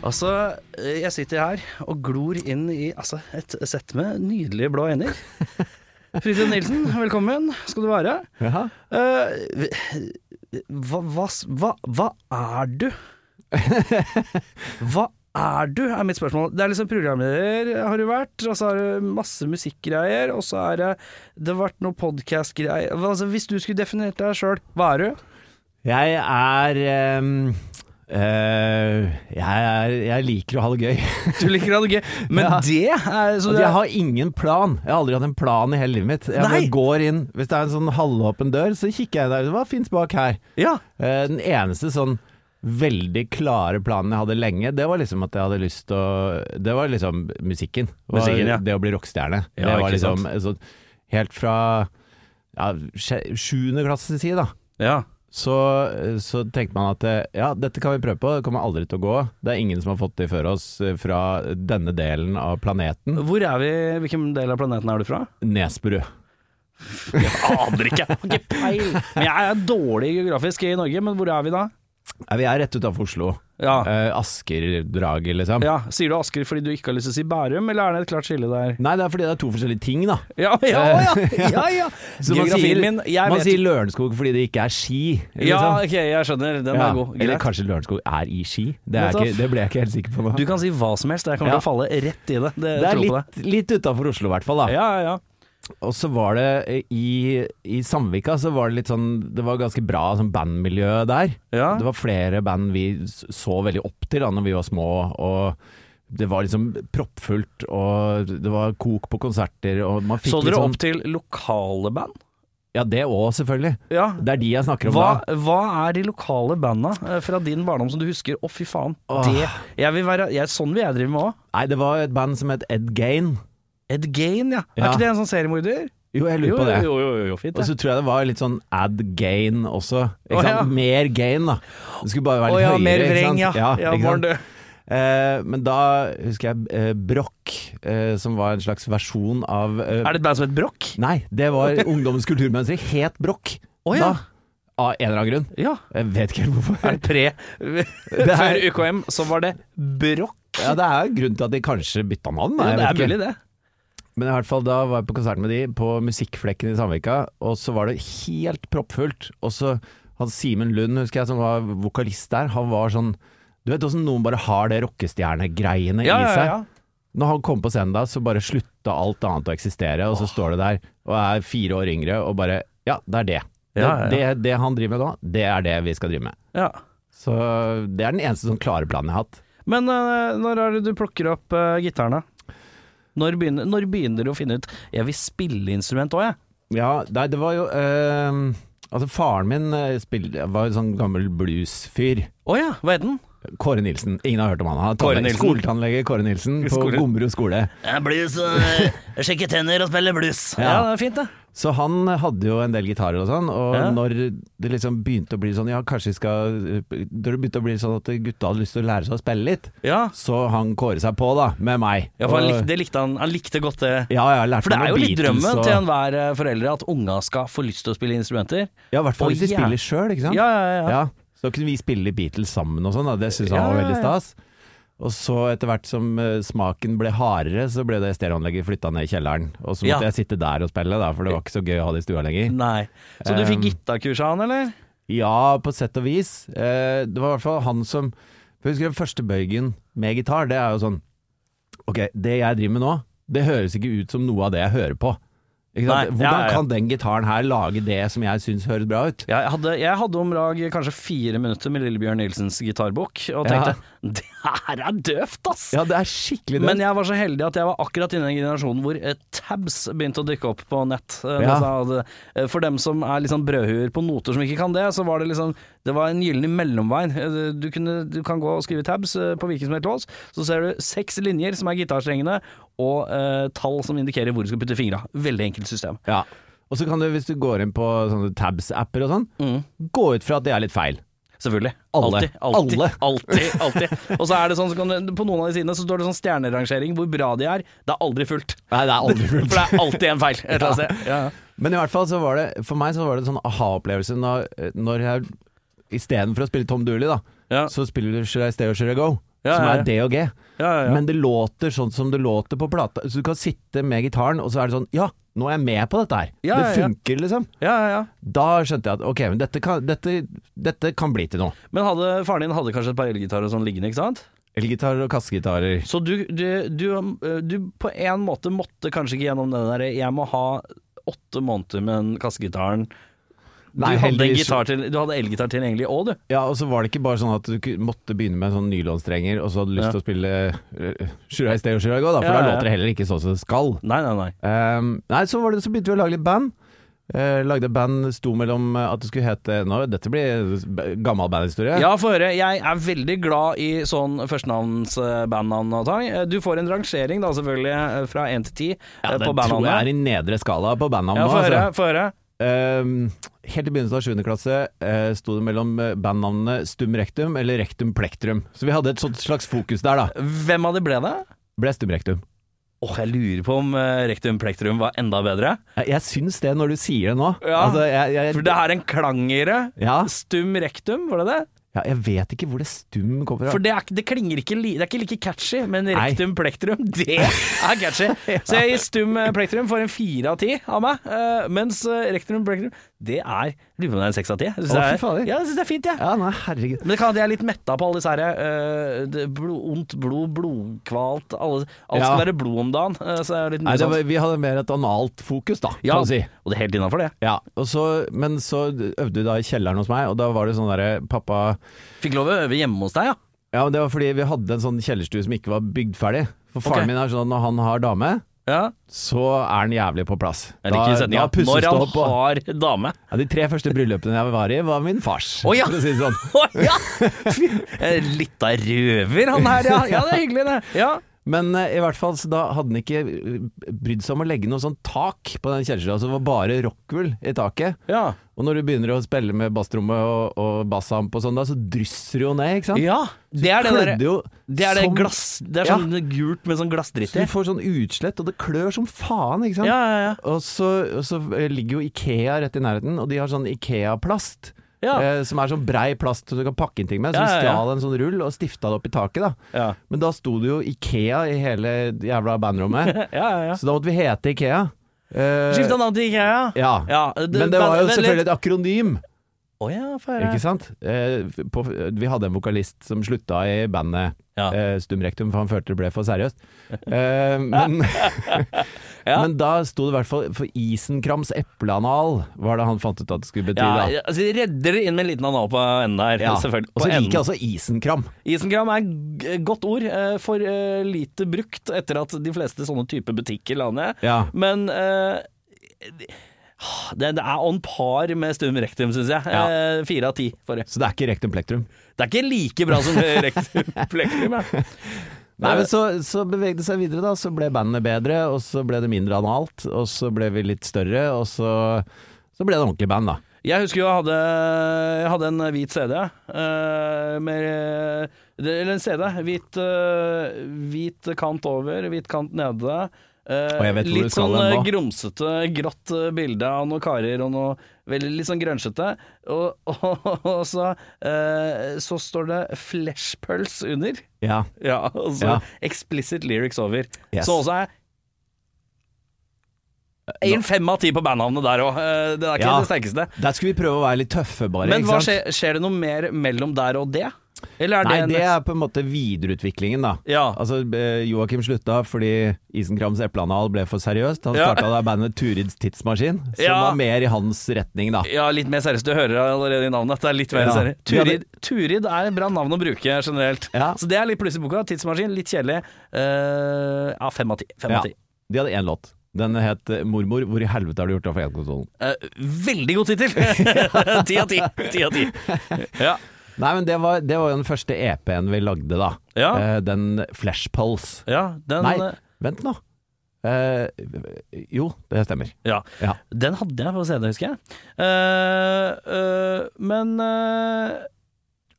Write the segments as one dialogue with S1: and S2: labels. S1: Altså, jeg sitter her og glor inn i altså, et sett med nydelige blå ender. Fridtjof Nilsen, velkommen skal du være.
S2: Jaha.
S1: Eh, hva, hva, hva, hva er du? Hva er du, er mitt spørsmål. Det er liksom programleder har du vært, og så har du masse musikkgreier, og så er det Det har vært noe podkastgreier altså, Hvis du skulle definert deg sjøl, hva er du?
S2: Jeg er ehm, eh, jeg, er, jeg liker å ha det gøy.
S1: Du liker det gøy, men
S2: Ja.
S1: det er så
S2: Og
S1: det er-
S2: jeg har ingen plan. Jeg har aldri hatt en plan i hele livet mitt. Jeg bare
S1: Nei.
S2: går inn Hvis det er en sånn halvåpen dør, så kikker jeg der. Hva fins bak her?
S1: Ja.
S2: Eh, den eneste sånn veldig klare planen jeg hadde lenge, det var liksom at jeg hadde lyst til å Det var liksom musikken. Var
S1: Musikken, ja.
S2: Det å bli rockestjerne.
S1: Ja,
S2: det
S1: ikke
S2: var liksom
S1: sant.
S2: sånn Helt fra ja, sj- sjuende klasse til side, da.
S1: ja.
S2: så, eh, så tenkte man at eh, ja, dette kan vi prøve på, det kommer aldri til å gå. Det er ingen som har fått det før oss eh, fra denne delen av planeten.
S1: Hvor er vi? Hvilken del av planeten er du fra?
S2: Nesbru.
S1: Aner ikke. Har ikke peil. Men jeg er dårlig geografisk i Norge, men hvor er vi da?
S2: Ja, vi er rett utenfor Oslo.
S1: Ja,
S2: Eh, Asker-draget, liksom.
S1: ja. Sier du Asker fordi du ikke har lyst til å si Bærum, eller er det et klart skille der?
S2: Nei, det er fordi det er to forskjellige ting, da.
S1: Ja, ja, ja! ja, ja.
S2: Så man
S1: Geografien
S2: sier,
S1: min, jeg
S2: man
S1: vet
S2: sier Lørenskog fordi det ikke er ski.
S1: Ja,
S2: liksom.
S1: ok, jeg skjønner. Den
S2: Ja,
S1: er god.
S2: Eller
S1: Greit.
S2: kanskje Lørenskog er i ski. Det,
S1: Vet
S2: er
S1: du
S2: ikke,
S1: hva?
S2: det ble jeg ikke helt sikker på nå.
S1: Du kan si hva som helst, jeg kommer
S2: Ja.
S1: til å falle rett i det. Det,
S2: det er
S1: tror på deg.
S2: litt, litt utafor Oslo, i hvert fall. da.
S1: Ja, ja, ja.
S2: Og så var det eh, i, i Sandvika så var det litt sånn Det var ganske bra sånn bandmiljø der.
S1: Ja.
S2: Det var flere band vi s- så veldig opp til da når vi var små. Og det var liksom proppfullt, og det var kok på konserter, og man fikk
S1: Så
S2: litt
S1: dere
S2: sånn
S1: opp til lokale band?
S2: Ja, det òg, selvfølgelig.
S1: Ja.
S2: Det er de jeg snakker om
S1: Hva,
S2: da.
S1: hva er de lokale banda eh, fra din barndom som du husker? Å, fy faen.
S2: Åh.
S1: Det, jeg vil være, jeg, sånn vil jeg drive med òg.
S2: Nei, det var et band som het Ed Gain.
S1: Ed Gain, ja. Er
S2: Ja.
S1: ikke det en sånn seriemorder?
S2: Jo, jeg lurer på det.
S1: Jo, jo, jo, jo, fint
S2: Og
S1: det.
S2: så tror jeg det var litt sånn ad gain også. Ikke
S1: Å, ja.
S2: sant? Mer gain, da. Det skulle bare
S1: Å
S2: være litt
S1: ja,
S2: høyere.
S1: mer
S2: ikke
S1: vreng,
S2: sant?
S1: ja. Ja,
S2: ikke sant?
S1: Morn, du.
S2: Eh, men da husker jeg eh, Broch, eh, som var en slags versjon av eh,
S1: Er det et band som heter Brokk?
S2: Nei, det var ungdommens kulturmønster. Het Broch.
S1: Å ja.
S2: Da, av en eller annen grunn.
S1: Ja.
S2: Jeg vet ikke helt hvorfor.
S1: Er det pre
S2: er-
S1: Før UKM så var det Brokk.
S2: Ja, det er jo en grunn til at de kanskje bytta navn.
S1: Ja,
S2: da, jeg
S1: det
S2: vet
S1: er
S2: ikke.
S1: mulig, det.
S2: Men i hvert fall da var jeg på konsert med de på Musikkflekken i Sandvika, og så var det helt proppfullt. Og så han Simen Lund, husker jeg, som var vokalist der, han var sånn Du vet åssen noen bare har det rockestjernegreiene
S1: Ja,
S2: i
S1: ja,
S2: seg?
S1: ja.
S2: Når han kom på scenen da, så bare slutta alt annet å eksistere, og så står det der og er fire år yngre og bare Ja, det er det. Det,
S1: Ja, ja.
S2: det, det han driver med nå, det er det vi skal drive med.
S1: ja.
S2: Så det er den eneste sånn klare planen jeg har hatt.
S1: Men eh, når er det du plukker opp uh, gitaren, da? Når begynner, når begynner du å finne ut Jeg vil spille instrument òg, jeg.
S2: Ja, nei, det var jo eh, Altså, faren min eh, spill, var jo sånn gammel bluesfyr.
S1: Å ja, hva heter den?
S2: Kåre Nilsen. Ingen har hørt om han. han er
S1: Kåre
S2: tannlege-
S1: Nilsen.
S2: Skoletannlege Kåre Nilsen på
S1: Skole-
S2: Gommerud skole.
S1: Eh, Blues. Sjekke tenner og spille blues. Ja.
S2: Ja.
S1: det er fint, det.
S2: Så han hadde jo en del gitarer og sånn, og
S1: Ja.
S2: når det liksom begynte å bli sånn Ja, kanskje vi skal Da det begynte å bli sånn at gutta hadde lyst til å lære seg å spille litt,
S1: Ja,
S2: så han Kåre seg på, da, med meg.
S1: ja for han
S2: Og-
S1: likte, det likte han, han likte godt det.
S2: ja, ja, jeg lærte
S1: For det
S2: meg
S1: er jo
S2: noen
S1: litt
S2: Beatles
S1: drømmen
S2: og,
S1: til enhver eh, foreldre at unga skal få lyst til å spille instrumenter.
S2: Ja, i hvert
S1: Å,
S2: fall hvis de
S1: ja.
S2: spiller sjøl, ikke sant.
S1: Ja, ja, ja.
S2: Ja, så kunne vi spille Beatles sammen og sånn, da. det syntes han
S1: Ja,
S2: var
S1: ja,
S2: veldig
S1: ja.
S2: stas. Og så etter hvert som eh, smaken ble hardere, så ble det stereoanlegget flytta ned i kjelleren. Og så
S1: Ja.
S2: måtte jeg sitte der og spille, da, for det var ikke så gøy å ha det i stua lenger.
S1: Nei. Så du fikk
S2: Um,
S1: gitarkurs av han, eller?
S2: Ja, på sett og vis. Eh, Det var i hvert fall han som for Jeg husker den første bøygen med gitar, det er jo sånn Ok, det jeg driver med nå, det høres ikke ut som noe av det jeg hører på. Ikke sant?
S1: Nei,
S2: Hvordan
S1: ja, ja, ja.
S2: kan den gitaren her lage det som jeg syns høres bra ut?
S1: Ja, jeg, hadde, jeg hadde om lag kanskje fire minutter med Lillebjørn Nilsens gitarbok, og
S2: Ja.
S1: tenkte det her er døvt, ass!
S2: Ja, det er skikkelig
S1: Men
S2: døvt.
S1: jeg var så heldig at jeg var akkurat inne i den generasjonen hvor eh, tabs begynte å dukke opp på nett. Eh,
S2: Ja.
S1: altså, det- eh, For dem som er liksom brødhuer på noter som ikke kan det, så var det liksom Det var en gyllen mellomvei. Eh, Du, kunne, du kan gå og skrive tabs eh, på hvilken som helst lås, så ser du seks linjer som er gitarstrengene, og eh, tall som indikerer hvor du skal putte fingra. Veldig enkelt system.
S2: Ja. Og så kan du, hvis du går inn på sånne tabs-apper og sånn,
S1: Mm.
S2: gå ut fra at det er litt feil.
S1: Selvfølgelig.
S2: Alle.
S1: Alltid. Alltid.
S2: Alle.
S1: Alltid. alltid. Og så er det sånn, så kan du, på noen av de sidene så står det sånn stjernerangering hvor bra de er. Det er aldri fullt.
S2: Nei, det er aldri
S1: For det er alltid en feil et eller annet sted. Ja.
S2: Men i hvert fall så var det For meg så var det en sånn aha-opplevelse når, når jeg Istedenfor å spille Tom Dooley, da,
S1: Ja.
S2: så spiller du Should I Stay or Should I Go?
S1: Ja,
S2: som
S1: ja,
S2: er
S1: ja.
S2: D og G.
S1: Ja, ja, ja.
S2: Men det låter sånn som det låter på plata. Så du kan sitte med gitaren, og så er det sånn Ja, nå er jeg med på dette her.
S1: Ja,
S2: det
S1: ja, ja.
S2: funker, liksom.
S1: Ja, ja, ja.
S2: Da skjønte jeg at ok, men dette kan, dette, dette kan bli til noe.
S1: Men hadde, faren din hadde kanskje et par elgitarer og sånn liggende, ikke sant?
S2: Elgitarer og kassegitarer.
S1: Så du, du, du, øh, du på en måte måtte kanskje ikke gjennom den derre Jeg må ha åtte måneder med den kassegitaren. Du,
S2: Nei,
S1: hadde en
S2: heldigvis-
S1: gitar til, du hadde elgitar tilgjengelig òg, du.
S2: Ja, og så var det ikke bare sånn at du ku- måtte begynne med sånn nylånstrenger, og så hadde du lyst
S1: Ja.
S2: til å spille eh, Should I Stay or Should I Go, da, for
S1: Ja,
S2: da
S1: ja, ja.
S2: låter det heller ikke sånn som det skal.
S1: Nei, nei, nei.
S2: Ehm, nei, så, var det, så begynte vi å lage litt band. Eh, lagde et band sto mellom eh, at det skulle hete nå, Dette blir b- gammel bandhistorie.
S1: Ja, få høre. Jeg er veldig glad i sånn førstenavns-bandnavn og tang. Du får en rangering, da, selvfølgelig, øh, fra én til ti
S2: Ja,
S1: øh,
S2: den
S1: på
S2: tror jeg Eh, er
S1: bandnavnet.
S2: i nedre skala på bandnavn
S1: Ja,
S2: nå.
S1: få høre.
S2: Altså.
S1: Få høre.
S2: Ehm, helt i begynnelsen av 7. klasse eh, sto det mellom eh, bandnavnene Stum Rektum eller Rektum Plektrum. Så vi hadde et sånt slags fokus der, da.
S1: Hvem av de ble det?
S2: Ble Stum Rektum.
S1: Åh, jeg lurer på om øh, rektum plektrum var enda bedre.
S2: Jeg, jeg syns det når du sier det nå.
S1: Ja,
S2: Altså, jeg, jeg,
S1: For det er en klangere.
S2: ja,
S1: Stum rektum, var det det?
S2: ja, jeg vet ikke hvor det stum kommer fra.
S1: For det, er, ikke- det klinger ikke li, Det er ikke like catchy, men
S2: Nei.
S1: rektum plektrum, det er catchy. Så jeg gir stum eh, plektrum for en fire av ti av meg, eh, mens eh, rektum plektrum, det er Lurer på om det er en seks av ti. Jeg synes
S2: Å,
S1: det er-
S2: fy fader.
S1: Ja, jeg synes det er fint, jeg.
S2: Ja, nei, herregud.
S1: Men det kan hende jeg er litt metta på alle disse her eh, det- blod, Ondt blod, blodkvalt Alle, alt
S2: Ja.
S1: skal være blod om dagen. eh, så det er litt mye
S2: Nei, det
S1: sånt.
S2: var, vi hadde mer et analt fokus, da,
S1: ja,
S2: kan du si.
S1: Og det er helt innafor, det.
S2: Ja, og så, men så øvde vi da i kjelleren hos meg, og da var det sånn derre pappa
S1: Fikk lov å øve hjemme hos deg, ja.
S2: Ja, men det var fordi vi hadde en sånn kjellerstue som ikke var bygd ferdig. For faren
S1: Ok.
S2: min er sånn at når han har dame,
S1: ja.
S2: så er han jævlig på plass.
S1: Jeg liker setninga.
S2: da pusses
S1: Når
S2: det
S1: han
S2: opp. og-
S1: har dame.
S2: Ja, de tre første bryllupene jeg var i, var min fars.
S1: Å, ja.
S2: for å si det sånn.
S1: Å ja! Eh, Litt av røver han her, ja. Ja, det er hyggelig det. Ja.
S2: Men eh, i hvert fall, så da hadde han ikke eh, brydd seg om å legge noe sånn tak på den kjellerstua, så det var bare rockwool i taket.
S1: Ja.
S2: Og når du begynner å spille med basstrommet og, og bassamp og sånn da, så drysser det jo ned, ikke sant?
S1: Det er det
S2: Klødde
S1: derre
S2: jo
S1: det er det
S2: som-
S1: glass Det er
S2: Ja.
S1: sånn gult med sånn glassdritt
S2: Så
S1: i.
S2: du får sånn utslett, og det klør som faen,
S1: Ja,
S2: ikke sant?
S1: ja, ja.
S2: Og så, og så eh, ligger jo Ikea rett i nærheten, og de har sånn Ikea-plast.
S1: Ja.
S2: Eh, som er sånn brei plast som du kan pakke inn ting med. Så
S1: Ja,
S2: vi
S1: ja, ja.
S2: stjal en sånn rull og stifta det opp i taket, da.
S1: Ja.
S2: Men da sto det jo Ikea i hele jævla bandrommet,
S1: ja, ja, ja.
S2: så da måtte vi hete Ikea. Eh,
S1: Skifta navn til IKEA.
S2: ja.
S1: Ja, det-
S2: Men det var jo
S1: vent litt.
S2: selvfølgelig et akronym,
S1: Å ja, får jeg
S2: ikke sant? Eh, på, vi hadde en vokalist som slutta i bandet
S1: Ja.
S2: eh, Stum Rektum, for han følte det ble for seriøst. Eh, men,
S1: Ja.
S2: men da sto det i hvert fall for Isenkrams epleanal, var det han fant ut at det skulle bety.
S1: ja,
S2: da.
S1: ja, altså, de redder det inn med en liten anal på enden der.
S2: Ja.
S1: Selvfølgelig.
S2: Og så
S1: På
S2: liker jeg
S1: enden.
S2: altså isenkram.
S1: Isenkram er g- godt ord. eh, For eh, lite brukt etter at de fleste sånne type butikker la ned.
S2: Ja.
S1: Men eh, det, det er on par med stum rektum, syns jeg.
S2: Ja.
S1: Eh, Fire av ti. forrige.
S2: Så det er ikke rektum plektrum.
S1: Det er ikke like bra som rektum plektrum. ja.
S2: Nei, men så, så bevegde det seg videre, da. Så ble bandene bedre, og så ble det mindre analt. Og så ble vi litt større, og så, så ble det ordentlig band, da.
S1: Jeg husker jo jeg hadde, jeg hadde en hvit CD. eh, med, eh, det- eller en CD. Hvit, eh, hvit kant over, hvit kant nede. Eh,
S2: Og jeg vet hvor du
S1: litt
S2: skal
S1: sånn
S2: hen
S1: eh,
S2: nå.
S1: grumsete, grått eh, bilde av noen karer og noe veldig litt sånn grønsjete. Og, og, og så, eh, så står det fleshpøls under.
S2: Ja.
S1: Ja, og så
S2: Ja.
S1: explicit lyrics over.
S2: Yes.
S1: Så også er en fem av ti på bandnavnet der òg. Det er ikke
S2: Ja.
S1: det sterkeste.
S2: Der skulle vi prøve å være litt tøffe, bare.
S1: Men
S2: ikke
S1: hva
S2: sant?
S1: skjer, skjer det noe mer mellom der og det? Eller er det
S2: Nei,
S1: en
S2: det er på en måte videreutviklingen, da.
S1: Ja.
S2: Altså, eh, Joakim slutta fordi Isenkrams epleanal ble for seriøst. Han
S1: Ja.
S2: starta da bandet Turids Tidsmaskin, som
S1: Ja.
S2: var mer i hans retning, da.
S1: Ja, litt mer seriøst. Du hører allerede i navnet at det er litt mer
S2: Ja.
S1: seriøst.
S2: Vi hadde-
S1: Turid, Turid er et bra navn å bruke generelt.
S2: Ja.
S1: Så det er litt pluss i boka. Tidsmaskin, litt kjedelig. Eh, ja, fem av ti. Fem av ti.
S2: De hadde én låt. Den het eh, 'Mormor, hvor i helvete har du gjort av fjernkonsollen'?
S1: Eh, veldig god tittel! ti av ti. Ti av ti. Ja.
S2: Nei, men det var, det var jo den første EP-en vi lagde, da.
S1: Ja.
S2: Eh, den Flash Pulse.
S1: ja, den
S2: Nei,
S1: eh,
S2: vent nå. Eh, jo, det stemmer.
S1: Ja.
S2: Ja.
S1: Den hadde jeg på CD, husker jeg. Eh, eh, men eh,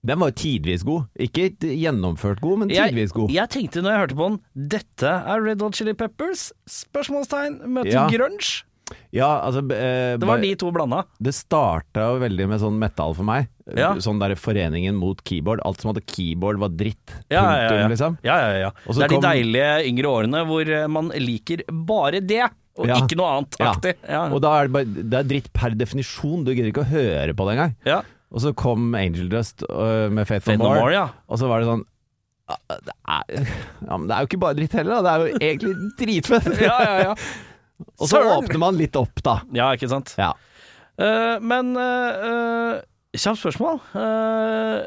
S2: Den var jo tidvis god. Ikke gjennomført god, men tidvis god.
S1: jeg tenkte når jeg hørte på den, dette er Red Hot Chili Peppers? Spørsmålstegn. Møter
S2: Ja.
S1: grunge.
S2: Ja, altså eh,
S1: Det
S2: bare-
S1: var de to blanda.
S2: Det starta jo veldig med sånn metal for meg.
S1: Ja.
S2: Sånn der Foreningen mot keyboard. Alt som hadde keyboard var dritt.
S1: Ja, ja, ja.
S2: Punktum, liksom.
S1: Ja, ja, ja.
S2: Og så
S1: Det er
S2: kom-
S1: de deilige yngre årene hvor eh, man liker bare det, og
S2: Ja.
S1: ikke noe annet
S2: Ja.
S1: aktig. Ja.
S2: Og da er det bare Det er dritt per definisjon. Du gidder ikke å høre på det engang.
S1: Ja.
S2: Og så kom Angel Dust øh, med Faith
S1: Faith
S2: No More,
S1: ja.
S2: og så var det sånn ah, det er, ja, men det er jo ikke bare dritt heller, da. Det er jo egentlig dritfett.
S1: Ja, ja, ja.
S2: Og så
S1: Søren!
S2: åpner man litt opp, da.
S1: ja, ikke sant.
S2: Ja.
S1: Eh, men eh, eh, kjapt spørsmål. Eh,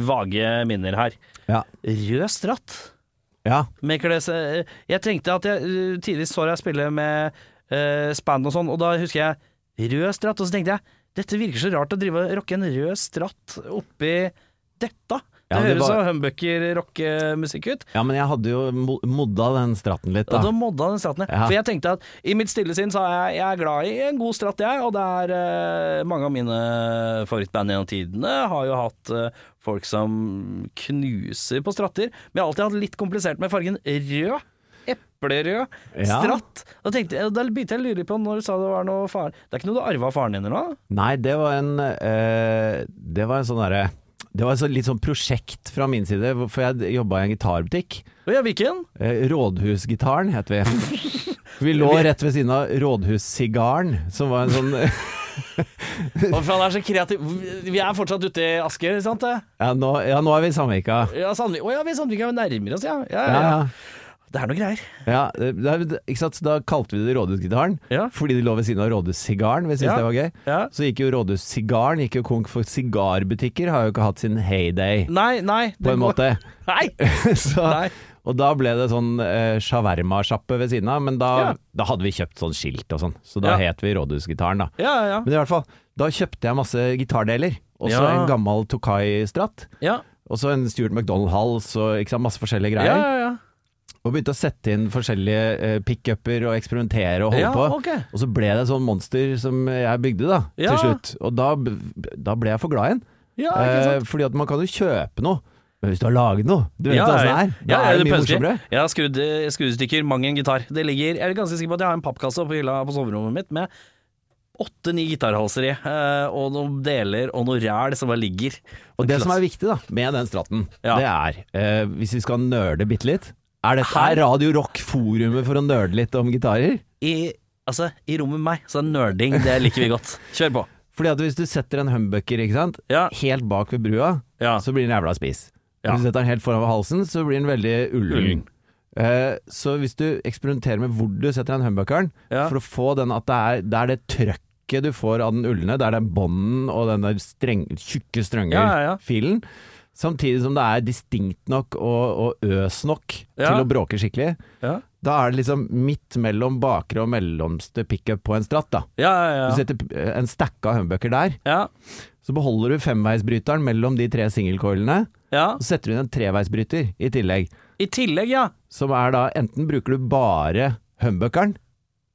S1: vage minner her.
S2: Ja.
S1: Rød stratt.
S2: ja.
S1: Maker det seg- Jeg tenkte at jeg eh, tidlig så deg spille med eh, span og sånn, og da husker jeg rød stratt, og så tenkte jeg dette virker så rart å drive og rocke en rød stratt oppi dette. Det
S2: Ja, det
S1: høres
S2: var-
S1: så humbucker-rockemusikk ut.
S2: ja, men jeg hadde jo mo- modda den stratten litt,
S1: Og da
S2: da.
S1: modda den stratten.
S2: Ja.
S1: For jeg tenkte at i mitt stille sinn så er jeg, jeg er glad i en god stratt, jeg. Og det er eh, mange av mine favorittband gjennom tidene har jo hatt eh, folk som knuser på stratter. Men jeg har alltid hatt litt komplisert med fargen rød. Eplerød
S2: Ja.
S1: stratt. Da, tenkte, jeg- da begynte jeg å lure på når du sa det var noe faren Det er ikke noe du arva av faren din eller noe?
S2: Nei, det var en eh, Det var en sånn derre Det var et sånn- litt sånn prosjekt fra min side, hvor- for jeg jobba i en gitarbutikk.
S1: Å ja, hvilken?
S2: Eh, Rådhusgitaren heter vi. Vi lå rett ved siden av Rådhussigaren, som var en sånn
S1: Å, for han er så kreativ. Vi er fortsatt ute i Asker, ikke sant? det?
S2: Ja, nå, ja, nå er vi i Samvika.
S1: Ja, Sandvik. Å ja, vi i Sandvika vi nærmer oss, ja. Ja,
S2: Ja,
S1: ja,
S2: ja.
S1: ja. Det er noe greier.
S2: ja det, det, ikke sant? Så Da kalte vi det Rådhusgitaren,
S1: Ja.
S2: fordi de lå ved siden av Rådhussigaren. Vi syntes
S1: Ja.
S2: det var gøy.
S1: Ja.
S2: Så gikk jo Rådhussigaren gikk jo konk for sigarbutikker, har jo ikke hatt sin heyday,
S1: Nei, nei.
S2: på
S1: det
S2: en
S1: går-
S2: måte.
S1: Nei!
S2: så,
S1: Nei.
S2: og da ble det sånn eh, shawarma-sjappe ved siden av, men da,
S1: Ja.
S2: da hadde vi kjøpt sånn skilt og sånn, så da
S1: Ja.
S2: het vi Rådhusgitaren, da.
S1: Ja, ja,
S2: Men i hvert fall, da kjøpte jeg masse gitardeler. Også
S1: Ja.
S2: en gammel Tokai-stratt.
S1: ja.
S2: Og så en Stuart McDonald-hals og ikke sant, masse
S1: Ja,
S2: forskjellige greier.
S1: ja, ja.
S2: Og begynte å sette inn forskjellige eh, pickuper og eksperimentere og holde
S1: Ja,
S2: på.
S1: ok.
S2: Og så ble det et sånn monster som jeg bygde, da,
S1: Ja.
S2: til slutt. Og da, b- da ble jeg for glad i den.
S1: ja ikke sant?
S2: Eh, fordi at man kan jo kjøpe noe. Men hvis du har laget noe, du vet
S1: Ja,
S2: åssen det
S1: ja.
S2: er. Da
S1: Ja,
S2: er det mye
S1: pønsker.
S2: morsommere.
S1: Jeg har skrudd, eh, skruestykker, mang en gitar. Det ligger, jeg er ganske sikker på at jeg har en pappkasse på hylla på soverommet mitt med åtte-ni gitarhalser i, eh, og noen deler og noe ræl som bare ligger.
S2: Og det som er viktig da, med den stratten,
S1: Ja.
S2: det er, eh, hvis vi skal nerde bitte litt er dette
S1: Her-
S2: er Radio Rock forumet for å nerde litt om gitarer?
S1: I, altså, I rommet med meg så er nerding, det liker vi godt. Kjør på.
S2: Fordi at hvis du setter en humbucker ikke sant?
S1: Ja.
S2: helt bak ved brua,
S1: Ja.
S2: så blir den jævla spiss.
S1: Ja.
S2: Hvis du setter den helt foran ved halsen, så blir den veldig ullen.
S1: Ullen.
S2: Eh, så hvis du eksperimenterer med hvor du setter den humbuckeren,
S1: Ja.
S2: for å få den at det er, det er det trøkket du får av den ullene, det er den bånden og den der streng, tjukke
S1: Ja, ja, ja.
S2: strønger-filen, samtidig som det er distinkt nok og, og øs nok
S1: Ja.
S2: til å bråke skikkelig,
S1: Ja,
S2: da er det liksom midt mellom bakre og mellomste pickup på en stratt, da.
S1: ja,
S2: Du
S1: ja. ja.
S2: setter eh, en stacka humbucker der,
S1: ja.
S2: så beholder du femveisbryteren mellom de tre singelcoilene,
S1: ja.
S2: og så setter du inn en treveisbryter i tillegg.
S1: I tillegg, ja.
S2: Som er da enten bruker du bare humbuckeren,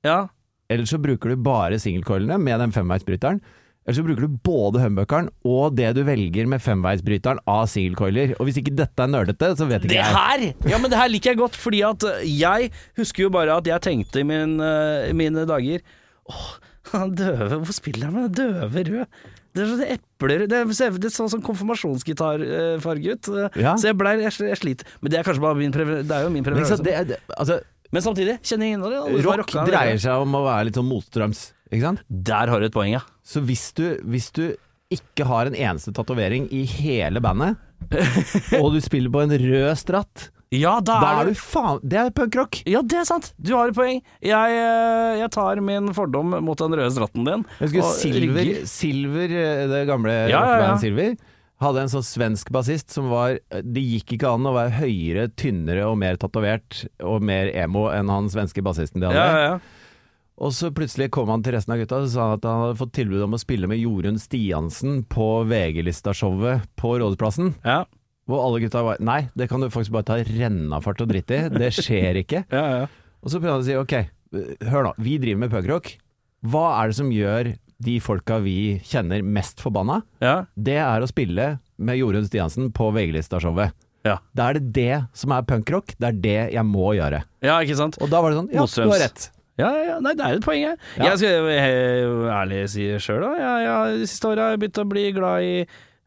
S1: Ja.
S2: eller så bruker du bare singelcoilene med den femveisbryteren. Eller så bruker du både humbuckeren og det du velger med femveisbryteren av singelcoiler. Og hvis ikke dette er nerdete, så vet ikke
S1: Det
S2: jeg.
S1: her! Ja, men det her liker jeg godt, fordi at eh, jeg husker jo bare at jeg tenkte i min, eh, mine dager Åh, han døve, hvor spiller han med den døve rød? Det er sånn epler Det, ser- det så sånn konfirmasjonsgitarfarge ut. eh,
S2: Ja.
S1: Så jeg blei jeg, sl- jeg sliter. Men det er kanskje bare min prefer- Det er jo min
S2: Men ikke sant,
S1: preferanse.
S2: det, er- det, altså,
S1: Men samtidig, kjenner jeg innholdet. alle som har
S2: rock
S1: rocka,
S2: dreier seg om å være litt sånn motstrøms, ikke sant?
S1: Der har du et poeng, ja.
S2: Så hvis du, hvis du ikke har en eneste tatovering i hele bandet, og du spiller på en rød stratt,
S1: Ja, da
S2: da
S1: er
S2: er
S1: du
S2: du faen Det er punkrock!
S1: Ja, det er sant! Du har et poeng. Jeg, eh, jeg tar min fordom mot den røde stratten din.
S2: Jeg husker
S1: og
S2: Silver,
S1: rygger.
S2: Silver, eh, det gamle
S1: ja, ja.
S2: rockebandet Silver, hadde en sånn svensk bassist som var eh, Det gikk ikke an å være høyere, tynnere og mer tatovert og mer emo enn han svenske bassisten de
S1: Ja,
S2: hadde.
S1: ja, ja.
S2: Og så plutselig kom han til resten av gutta og sa han at han hadde fått tilbud om å spille med Jorunn Stiansen på VG-lista-showet på Rådhusplassen.
S1: ja,
S2: Hvor alle gutta var Nei, det kan du faktisk bare ta rennafart og dritt i. Det skjer ikke.
S1: ja, ja.
S2: Og så prøvde han å si ok, hør nå, vi driver med punkrock. Hva er det som gjør de folka vi kjenner mest forbanna?
S1: ja.
S2: Det er å spille med Jorunn Stiansen på VG-lista-showet.
S1: Ja.
S2: Da er det det som er punkrock. Det er det jeg må gjøre.
S1: ja ikke sant?
S2: Og da var det sånn Ja, du har
S1: Motstrøms.
S2: rett.
S1: Ja, ja, ja. Nei, det er et poeng, jeg.
S2: Ja.
S1: Jeg skal eh, ærlig si sjøl, da. Jeg, jeg, de siste åra har jeg begynt å bli glad i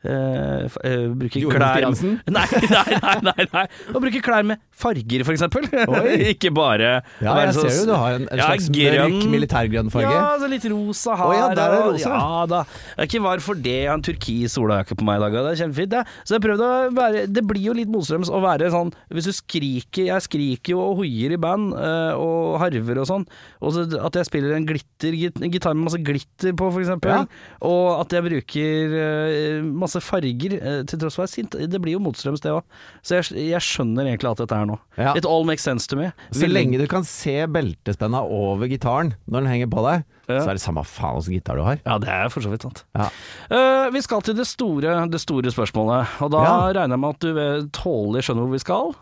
S1: eh, f- eh, bruke
S2: Jorunn
S1: klær
S2: Stiansen?
S1: Nei, nei, nei, nei, nei. Å bruke klær med farger, for eksempel.
S2: Oi.
S1: Ikke bare
S2: Ja,
S1: å være
S2: jeg
S1: så-
S2: ser jo du har en, en
S1: Ja,
S2: slags mørk militærgrønn farge.
S1: Ja, så litt rosa her.
S2: Å ja, der er
S1: og-
S2: rosa.
S1: Ja da. Jeg er ikke var for det. Jeg har en turkis olajakke på meg i dag, og det er kjempefint. Det. Så jeg prøvde å være Det blir jo litt motstrøms å være sånn Hvis du skriker Jeg skriker jo og hoier i band, eh, og harver og sånn. Og så at jeg spiller en glitter git- gitar med masse glitter på, for eksempel.
S2: Ja.
S1: Og at jeg bruker eh, masse farger, eh, til tross for at jeg er sint. Det blir jo motstrøms, det òg. Så jeg, jeg skjønner egentlig alt dette her nå.
S2: Ja.
S1: It all makes sense to me.
S2: Så lenge du kan se beltespenna over gitaren når den henger på deg,
S1: Ja.
S2: så er det samme faen åssen gitar du har.
S1: Ja, det er for så vidt sant.
S2: Ja.
S1: Eh, vi skal til det store, det store spørsmålet, og da
S2: Ja.
S1: regner jeg med at du vet- tålelig skjønner hvor vi skal.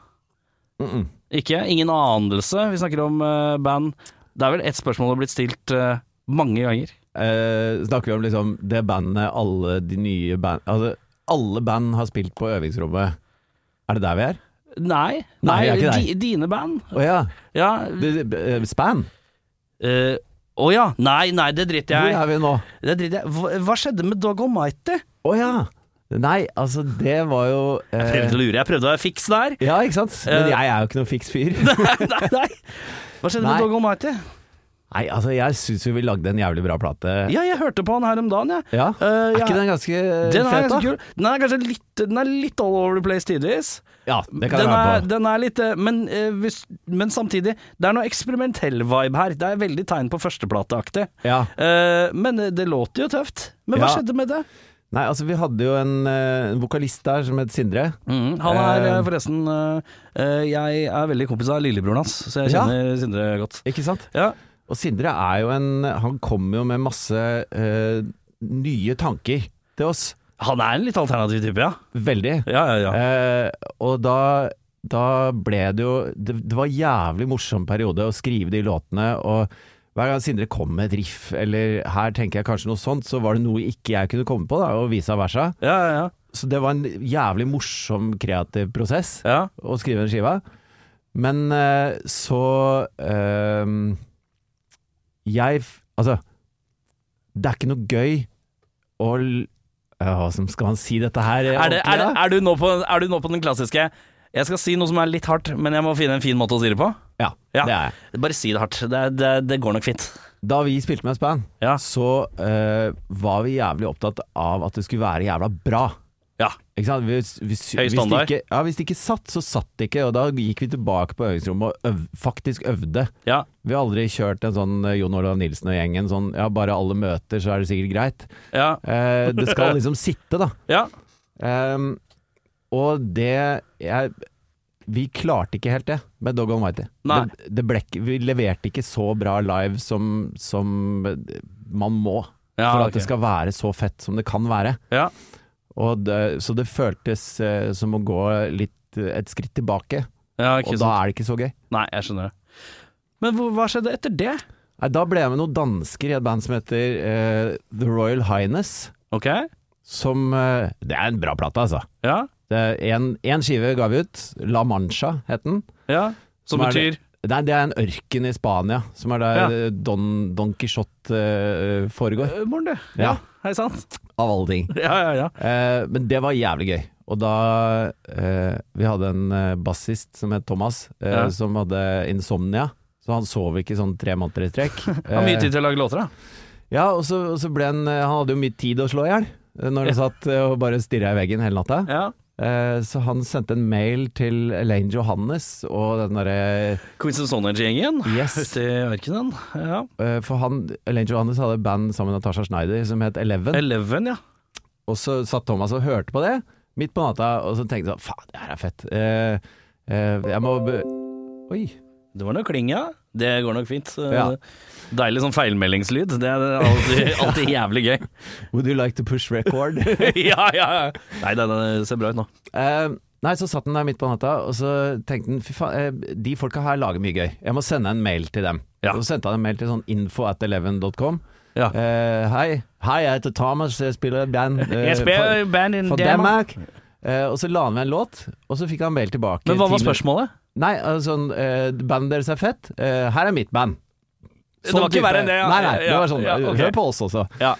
S2: Mm -mm.
S1: Ikke? Ingen anelse. Vi snakker om eh, band. Det er vel ett spørsmål som har blitt stilt eh, mange ganger.
S2: Eh, snakker vi om liksom det bandet alle de nye band Altså, alle band har spilt på øvingsrommet. Er det der vi er?
S1: Nei,
S2: Nei, jeg er ikke
S1: di, dine band.
S2: Å ja.
S1: Ja.
S2: Det, eh, span.
S1: eh, Å ja, nei, nei, det driter jeg
S2: Hvor er
S1: i.
S2: vi nå?
S1: Det driter jeg i. Hva, hva skjedde med Dog Almighty?
S2: Å ja. Nei, altså, det var jo eh,
S1: Prøvde å lure, jeg prøvde å være fiks der.
S2: Ja, ikke sant? Men
S1: Eh.
S2: jeg er jo ikke noen fiks fyr.
S1: nei, nei, nei. Hva skjedde
S2: Nei.
S1: med Dog Almighty?
S2: Nei, altså, jeg syns jo vi lagde en jævlig bra plate.
S1: Ja, jeg hørte på han her om dagen, jeg.
S2: Ja.
S1: Eh,
S2: Er
S1: jeg-
S2: ikke den ganske eh,
S1: Den er
S2: fet, da?
S1: ganske kul. Den er kanskje litt, den er litt all over the place tidvis.
S2: Ja, det kan jeg
S1: den,
S2: være med
S1: er,
S2: på.
S1: den er litt eh, men, eh, hvis, men samtidig, det er noe eksperimentell vibe her. Det er veldig tegn på førsteplateaktig.
S2: Ja.
S1: Eh, men eh, det låter jo tøft. Men hva
S2: Ja.
S1: skjedde med det?
S2: Nei, altså vi hadde jo en, eh, en vokalist der som het Sindre.
S1: Mm, han er eh,
S2: Eh,
S1: forresten eh, eh, Jeg er veldig kompis av lillebroren hans, så jeg
S2: Ja.
S1: kjenner Sindre godt.
S2: Ikke sant?
S1: Ja,
S2: Og Sindre er jo en Han kommer jo med masse eh, nye tanker til oss.
S1: han er en litt alternativ type, ja.
S2: Veldig.
S1: Ja, ja, ja.
S2: Eh, og da, da ble det jo det, det var en jævlig morsom periode å skrive de låtene. Og hver gang Sindre kom med et riff, eller her tenker jeg kanskje noe sånt, så var det noe ikke jeg kunne komme på, da, og vice versa.
S1: Ja, ja,
S2: Så det var en jævlig morsom kreativ prosess.
S1: ja. ja.
S2: å skrive den skiva. Men eh, så eh, Jeg f- Altså, det er ikke noe gøy å l- Ja, Hva som skal man si dette her? eh,
S1: Er, det, er,
S2: ordentlig, da?
S1: er, du nå på, er du nå på den klassiske Jeg skal si noe som er litt hardt, men jeg må finne en fin måte å si det på?
S2: Ja,
S1: Ja.
S2: det er jeg.
S1: Bare si det hardt. Det, det, det går nok fint.
S2: Da vi spilte med Span,
S1: Ja.
S2: så eh, var vi jævlig opptatt av at det skulle være jævla bra.
S1: Ja.
S2: Ikke sant? Hvis, hvis,
S1: Høy
S2: hvis, det
S1: standard.
S2: ikke, ja, hvis det ikke satt, så satt det ikke. Og da gikk vi tilbake på øvingsrommet og øv, faktisk øvde.
S1: Ja.
S2: Vi har aldri kjørt en sånn eh, Jon Olav Nilsen og gjengen sånn ja, bare alle møter, så er det sikkert greit.
S1: Ja.
S2: Eh, det skal liksom sitte, da.
S1: ja.
S2: Ehm, og det jeg, Vi klarte ikke helt det med Dog Almighty.
S1: Nei.
S2: Det, det ble, ikke- vi leverte ikke så bra live som, som man må
S1: Ja,
S2: for
S1: ok.
S2: at det skal være så fett som det kan være.
S1: ja.
S2: Og det, så det føltes eh, som å gå litt eh, et skritt tilbake,
S1: ja
S2: og
S1: ikke
S2: da
S1: sant.
S2: er det ikke så gøy.
S1: Nei, jeg skjønner det. Men hvor, hva skjedde etter det?
S2: Nei, da ble jeg med noen dansker i et band som heter eh, The Royal Highness.
S1: Ok,
S2: Som eh, Det er en bra plate, altså.
S1: ja.
S2: Én skive ga vi ut. La Mancha het den.
S1: ja. Som
S2: Som er
S1: betyr
S2: Det er, det er en ørken i Spania, som er der
S1: Ja.
S2: eh, Don, Don Quijote eh, foregår.
S1: Øh, Morn, du.
S2: Ja.
S1: Hei sant.
S2: Av alle ting.
S1: Ja, ja, ja.
S2: Eh, men det var jævlig gøy. Og da eh, Vi hadde en eh, bassist som het Thomas, eh,
S1: Ja.
S2: som hadde insomnia. Så han sov ikke sånn tre måneder i strekk.
S1: Har mye
S2: Eh,
S1: tid til å lage låter, da.
S2: Ja, og så, og så ble han Han hadde jo mye tid å slå i hjel. eh, når de satt eh, og bare stirra i veggen hele natta.
S1: Ja.
S2: Eh, Så han sendte en mail til Elaine Johannes og den derre
S1: Quiz of Sonage-gjengen
S2: Yes.
S1: ute i ørkenen. Ja.
S2: eh, For han, Elaine Johannes hadde et band sammen med Natasha Schneider som het Eleven.
S1: Eleven, ja.
S2: Og så satt Thomas og hørte på det midt på natta, og så tenkte han faen, det her er fett. Eh, eh, Jeg må be Oi.
S1: Det var noe kling, ja. Det går nok fint. Eh,
S2: Ja.
S1: Deilig sånn feilmeldingslyd. Det er alltid, alltid jævlig gøy.
S2: Would you like to push record?
S1: ja, ja, ja. Nei, den eh, ser bra ut nå.
S2: Eh, nei, så satt den der midt på natta, og så tenkte den fy faen, eh, de folka her lager mye gøy. Jeg må sende en mail til dem.
S1: Ja.
S2: Og så sendte han en mail til sånn info at eleven.com.
S1: Ja.
S2: Eh, hei, hei, jeg heter Thomas, jeg spiller i band eh, for,
S1: E band in
S2: for Danmark. Eh, og så la han ved en låt, og så fikk han mail tilbake.
S1: Men hva var
S2: ti min-
S1: spørsmålet?
S2: Nei, altså, sånn, eh, bandet deres er fett. Eh, her er mitt band.
S1: Det
S2: Sånn
S1: var ikke
S2: type-
S1: verre enn det, ja.
S2: Nei, nei, det
S1: Ja,
S2: var sånn.
S1: ja, ok.
S2: Hør på oss også.
S1: Ja.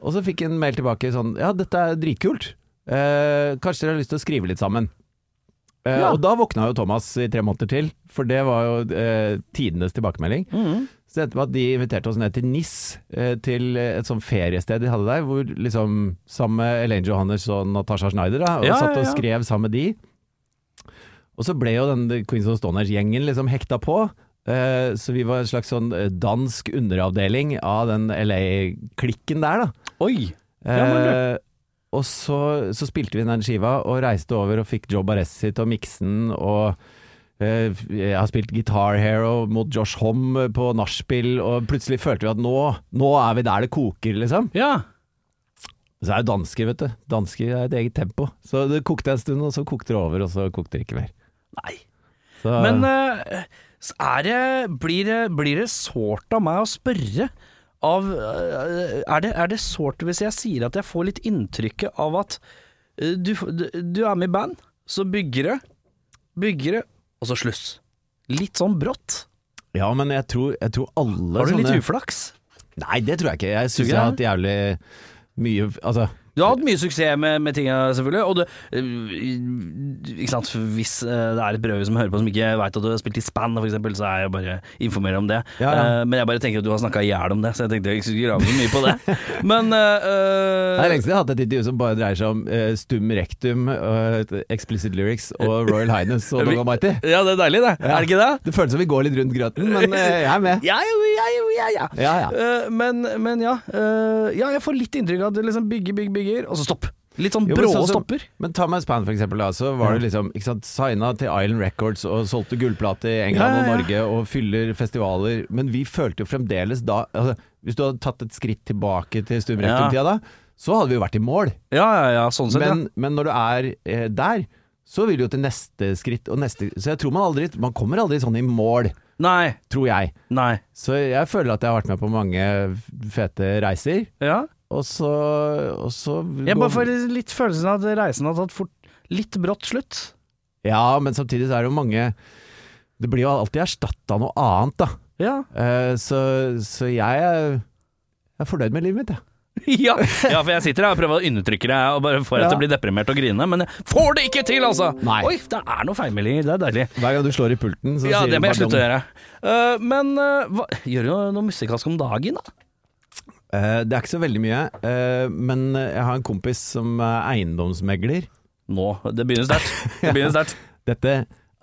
S2: Og så fikk jeg en mail tilbake sånn Ja, dette er dritkult. Eh, kanskje dere har lyst til å skrive litt sammen? Eh,
S1: Ja.
S2: Og da våkna jo Thomas i tre måneder til, for det var jo eh, tidenes tilbakemelding.
S1: Mm.
S2: Så det endte med at de inviterte oss ned til NIS, eh, til et sånt feriested de hadde der, hvor liksom sammen med Elaine Johannes og Natasha Schneider, da, og
S1: Ja,
S2: satt
S1: ja,
S2: og
S1: ja.
S2: skrev sammen med de. Og så ble jo den Queens of Stoners-gjengen liksom hekta på. eh, Så vi var en slags sånn eh, dansk underavdeling av den LA-klikken der, da.
S1: Oi! Ja, men du.
S2: Eh, og så, så spilte vi inn den skiva og reiste over og fikk Joe Baresi til å mikse den. Og eh, jeg har spilt Guitar Hero mot Josh Homme på nachspiel, og plutselig følte vi at nå, nå er vi der det koker, liksom.
S1: Ja.
S2: Så er jo dansker, vet du. Dansker er et eget tempo. Så det kokte en stund, og så kokte det over, og så kokte det ikke mer.
S1: Nei.
S2: Så,
S1: Men eh, s- er det Blir det, blir det sårt av meg å spørre? Av eh, Er det, er det sårt hvis jeg sier at jeg får litt inntrykket av at eh, du, f- du du er med i band, så bygger det, bygger det, og så sluss. Litt sånn brått.
S2: ja, men jeg tror, jeg tror alle
S1: Har du
S2: sånne
S1: litt uflaks?
S2: Nei, det tror jeg ikke. Jeg syns
S1: ikke
S2: jeg har
S1: det?
S2: hatt jævlig mye Altså
S1: Du har hatt mye suksess med, med tinga, selvfølgelig. Og det, øh, ikke sant? Hvis øh, det er et brødre som hører på som ikke veit at du har spilt i span, for eksempel, så er jeg bare informerer om det.
S2: Ja, ja.
S1: Eh, men jeg bare tenker at du har snakka i hjel om det, så jeg tenkte jeg ikke skulle grave så mye på det. Men øh,
S2: Det er lenge siden jeg har hatt et intervju som bare dreier seg om eh, stum rectum, eh, explicit lyrics og Royal Highness og Dog Almighty.
S1: Ja, det er deilig, det. Er det ikke det?
S2: Det føles som vi går litt rundt grøten, men eh, jeg er med.
S1: Ja, jo, ja, jo, ja, ja.
S2: Ja, ja.
S1: Eh, men, men ja. eh, ja, jeg får litt inntrykk av at det liksom bygger, bygger, bygger, og så stopp. Litt sånn
S2: Jo, men
S1: brå
S2: sånn som-
S1: stopper.
S2: Men Thomas Pan for eksempel, da, så var det liksom ikke sant, signa til Island Records og solgte gullplate i England
S1: Ja, ja, ja.
S2: og Norge og fyller festivaler, men vi følte jo fremdeles da altså, Hvis du hadde tatt et skritt tilbake til stum
S1: Ja.
S2: rectum-tida da, så hadde vi jo vært i mål.
S1: Ja, ja, ja, sånn sett,
S2: Men, men når du er eh, der, så vil du jo til neste skritt og neste Så jeg tror man aldri Man kommer aldri sånn i mål,
S1: ja. Nei,
S2: tror jeg.
S1: nei.
S2: Så jeg føler at jeg har vært med på mange fete reiser,
S1: Ja.
S2: og så, og så
S1: Jeg
S2: går-
S1: bare får litt følelsen av at reisen har tatt fort, litt brått slutt.
S2: Ja, men samtidig så er det jo mange Det blir jo alltid erstatta noe annet, da.
S1: Ja.
S2: Eh, så, så jeg er, jeg er fornøyd med livet mitt, jeg.
S1: ja. for jeg sitter her og prøver å undertrykke det og bare får deg til å bli deprimert og grine, men jeg får det ikke til, altså!
S2: Nei.
S1: Oi, det er noen feilmeldinger, det er deilig.
S2: Hver gang du slår i pulten, så
S1: Ja,
S2: sier
S1: det
S2: du
S1: må jeg
S2: pardon.
S1: slutte å gjøre. Eh, men eh, hva, gjør du noe, noe musikkalsk om dagen, da?
S2: Eh, det er ikke så veldig mye, eh, men jeg har en kompis som er eiendomsmegler.
S1: Nå. Det begynner sterkt. Det begynner sterkt.
S2: Dette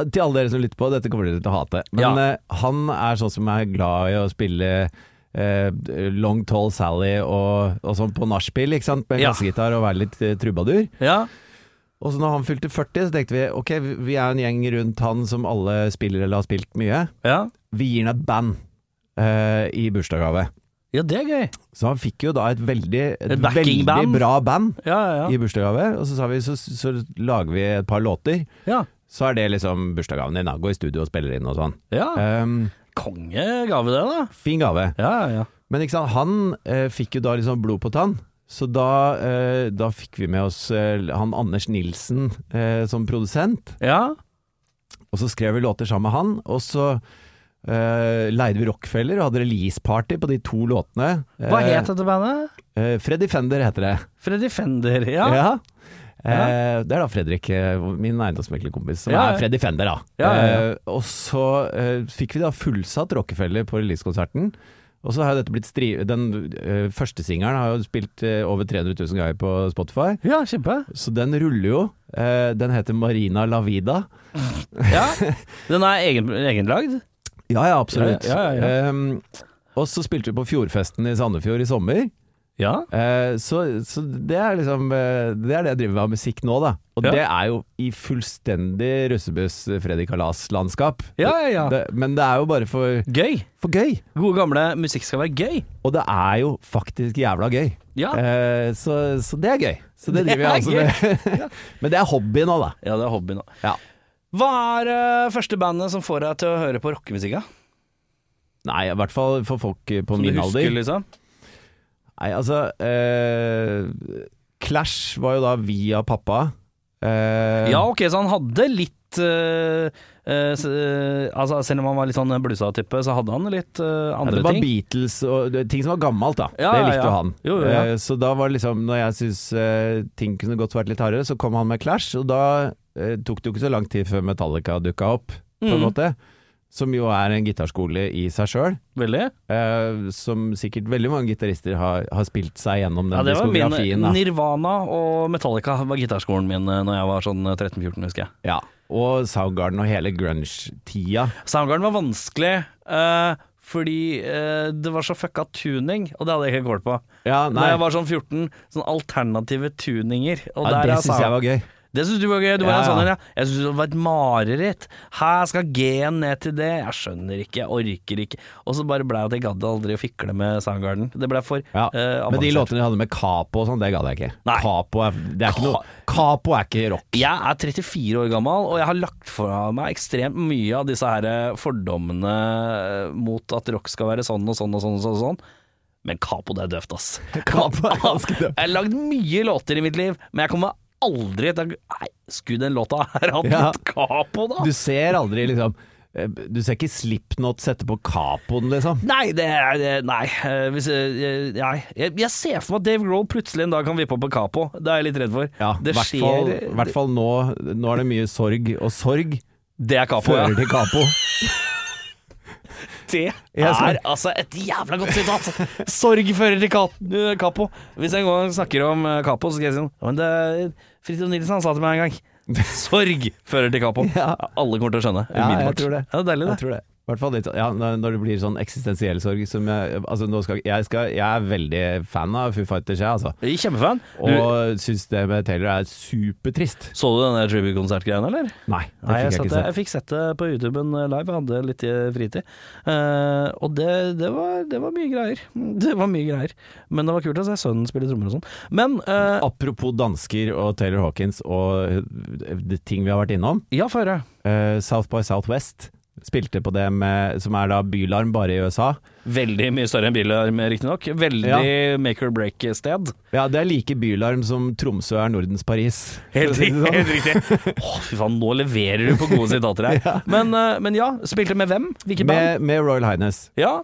S2: Til alle dere som lytter på, dette kommer dere til å hate. Men
S1: Ja.
S2: eh, han er sånn som er glad i å spille eh, Long Tall Sally og, og sånn på nachspiel, ikke sant. Med
S1: Ja.
S2: kassegitar og være litt eh, trubadur.
S1: Ja.
S2: Og så når han fylte 40, så tenkte vi ok, vi- vi er en gjeng rundt han som alle spiller eller har spilt mye.
S1: ja.
S2: Vi gir han et band eh, i bursdagsgave.
S1: Ja, det er gøy.
S2: Så han fikk jo da et veldig, et
S1: Et
S2: veldig
S1: backingband.
S2: bra band
S1: Ja, ja,
S2: i bursdagsgave, og så sa vi så, så lager vi et par låter.
S1: ja. ja.
S2: Så er det liksom bursdagsgaven din. da. Gå i studio og spiller inn og sånn.
S1: ja.
S2: Um,
S1: Kongegave, det, da.
S2: fin gave.
S1: Ja, ja.
S2: Men ikke sant, han eh, fikk jo da liksom blod på tann. Så da, eh, da fikk vi med oss eh, han Anders Nilsen eh, som produsent.
S1: Ja.
S2: Og så skrev vi låter sammen med han. Og så eh, leide vi Rockefeller og hadde releaseparty på de to låtene.
S1: Hva het dette bandet?
S2: Eh, Freddy Fender heter det.
S1: Freddy Fender, ja.
S2: Ja. Eh, det er da Fredrik, eh, min eiendomsmeglerkompis, som
S1: Ja, ja.
S2: er Freddy Fender, da.
S1: Ja, ja, ja.
S2: Eh, og så eh, fikk vi da fullsatt Rockefeller på releasekonserten. Og så har jo dette blitt stri... Den eh, første singelen har jo spilt eh, over 300 000 ganger på Spotify,
S3: Ja, kjempe.
S2: så den ruller jo. Eh, den heter Marina La Vida.
S1: Ja. Den er egen, egenlagd?
S2: Ja, ja, absolutt.
S1: Ja, ja, ja, ja.
S2: Ehm, og så spilte vi på Fjordfesten i Sandefjord i sommer.
S1: Ja.
S2: Eh, så, så det er liksom eh, Det er det jeg driver med av musikk nå, da. Og
S1: Ja.
S2: det er jo i fullstendig russebuss Freddy Kalas-landskap.
S1: Ja, ja, ja.
S2: Det- Men det er jo bare for,
S1: Gøy.
S2: for gøy.
S1: Gode gamle musikk skal være gøy.
S2: Og det er jo faktisk jævla gøy.
S1: Ja.
S2: Eh, så, så det er gøy. Så
S1: Det
S2: det, driver jeg altså
S1: er
S2: med. Men det er hobby nå, da.
S1: Ja, det er hobby nå.
S2: Ja.
S1: Hva er eh, første bandet som får deg til å høre på rockemusikk? da?
S2: Nei, i hvert fall for folk eh, på
S1: Som du
S2: min
S1: husker,
S2: alder.
S1: liksom?
S2: Nei, altså eh, Clash var jo da via pappa. Eh,
S1: Ja, ok, så han hadde litt eh, eh, s- eh, altså, Selv om han var litt sånn blusa-type, så hadde han litt eh,
S2: Ja,
S1: andre
S2: det var
S1: ting.
S2: Beatles og det- ting som var gammelt, da.
S1: Ja,
S2: det
S1: ja, ja.
S2: likte jo han.
S1: Jo, jo, ja.
S2: Eh, Så da var det liksom Når jeg syntes eh, ting kunne godt vært litt hardere, så kom han med Clash, og da eh, tok det jo ikke så lang tid før Metallica dukka opp, på en
S1: Mm.
S2: måte. Som jo er en gitarskole i seg sjøl.
S1: Veldig.
S2: eh, som sikkert veldig mange gitarister har, har spilt seg gjennom den
S1: Ja, det var
S2: diskografien.
S1: min
S2: da.
S1: Nirvana og Metallica var gitarskolen min eh, Når jeg var sånn 13-14, husker jeg.
S2: Ja. Og Soundgarden og hele grunge-tida.
S1: Soundgarden var vanskelig eh, fordi eh, det var så fucka tuning, og det hadde jeg ikke kål på.
S2: Ja,
S1: Da
S2: nei,
S1: jeg var sånn 14, sånn alternative tuninger. Og
S2: ja, det
S1: er
S2: syns
S1: Sound-
S2: jeg var gøy.
S1: Det syns du var gøy. Du var en
S2: Ja, ja.
S1: sånn en, ja. Jeg syns det var et mareritt. Her skal G-en ned til det. Jeg skjønner ikke, jeg orker ikke. Og så bare blei at jeg gadd aldri å fikle med Soundgarden. Det blei for
S2: Ja.
S1: eh,
S2: Men de
S1: avansert.
S2: låtene de hadde med Capo og sånn, det gadd jeg ikke.
S1: Nei.
S2: Capo er, det er ikke noe Capo er ikke rock.
S1: Jeg er 34 år gammel, og jeg har lagt fra meg ekstremt mye av disse her eh, fordommene eh, mot at rock skal være sånn og sånn og sånn. og sånn, og sånn. Men Capo, det er døvt, ass.
S2: Capo er ganske døvt.
S1: Jeg har lagd mye låter i mitt liv, men jeg kommer aldri til å Nei, skulle den låta her hatt
S2: Ja.
S1: litt Capo, da?
S2: Du ser aldri liksom eh, Du ser ikke Slipknot sette på Capoen, liksom.
S1: Nei, det er det- Nei. eh, Hvis, eh, jeg- nei. Jeg, jeg ser for meg at Dave Grohl plutselig en dag kan vippe opp på Capo. Det er jeg litt redd for.
S2: Ja,
S1: det
S2: hvert fall,
S1: skjer-
S2: hvert fall nå. Nå er det mye sorg, og sorg
S1: Det er Capo, ja.
S2: fører til Capo.
S1: Det
S2: Jeg skal-
S1: er altså et jævla godt sitat. Sorg fører til ka- Capo. Hvis jeg en gang snakker om eh, Capo, så skal jeg si noe. Men det Fridtjof Nilsen han sa til meg en gang. Sorg fører til Capo.
S2: Ja.
S1: Alle kommer til å skjønne
S2: Ja, jeg
S1: umiddelbart.
S2: tror det.
S1: Ja, det er deilig,
S2: Jeg
S1: det.
S2: tror det. Hvert fall litt, ja, når når det blir sånn eksistensiell sorg som jeg, altså nå skal, jeg, skal, jeg er veldig fan av Foo Fighters, jeg, altså.
S1: Jeg er Kjempefan. Du,
S2: Og syns det med Taylor er supertrist.
S1: så du den der tribute-konsertgreia, eller?
S2: Nei, det
S1: Nei, jeg,
S2: fikk jeg
S1: satt,
S2: ikke sett.
S1: jeg fikk sett det på YouTuben live, jeg hadde litt eh, fritid. Eh, og det, det, var, det var mye greier. Det var mye greier. Men det var kult å se sønnen spille trommer og sånn. Men eh,
S2: Apropos dansker og Taylor Hawkins og eh, det ting vi har vært innom.
S1: ja, få høre.
S2: eh, South by Southwest spilte på det med, som er da bylarm bare i USA.
S1: Veldig mye større enn bilarm, riktignok. Veldig make or break-sted.
S2: Ja, det er like bylarm som Tromsø er Nordens Paris.
S1: Helt,
S2: for å si det sånn.
S1: riktig. Å, fy faen, nå leverer du på gode sitater her. Men, eh, men ja, spilte med hvem? Hvilket band?
S2: Med, med Royal Highness
S1: Ja,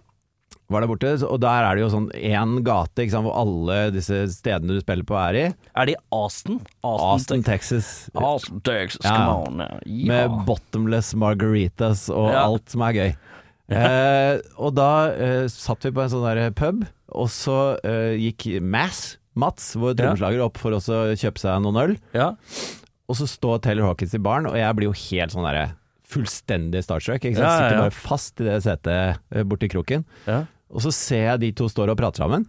S2: var der borte, så- og der er det jo sånn én gate ikke sant, hvor alle disse stedene du spiller på er i.
S1: er det i Aston?
S2: Aston, Texas.
S1: Aston Texas,
S2: Ja.
S1: come on. Ja.
S2: Med bottomless margaritas og
S1: Ja.
S2: alt som er gøy. Eh, og da eh, satt vi på en sånn der pub, og så eh, gikk Mass, Mats, vår
S1: Ja.
S2: trommeslager, opp for også å kjøpe seg noen øl.
S1: ja.
S2: Og så står Taylor Hawkins i baren, og jeg blir jo helt sånn derre fullstendig starstruck. Ikke sant?
S1: Ja, ja,
S2: Sitter
S1: ja.
S2: bare fast i det setet eh, borti kroken.
S1: Ja.
S2: Og så ser jeg de to står og prater sammen,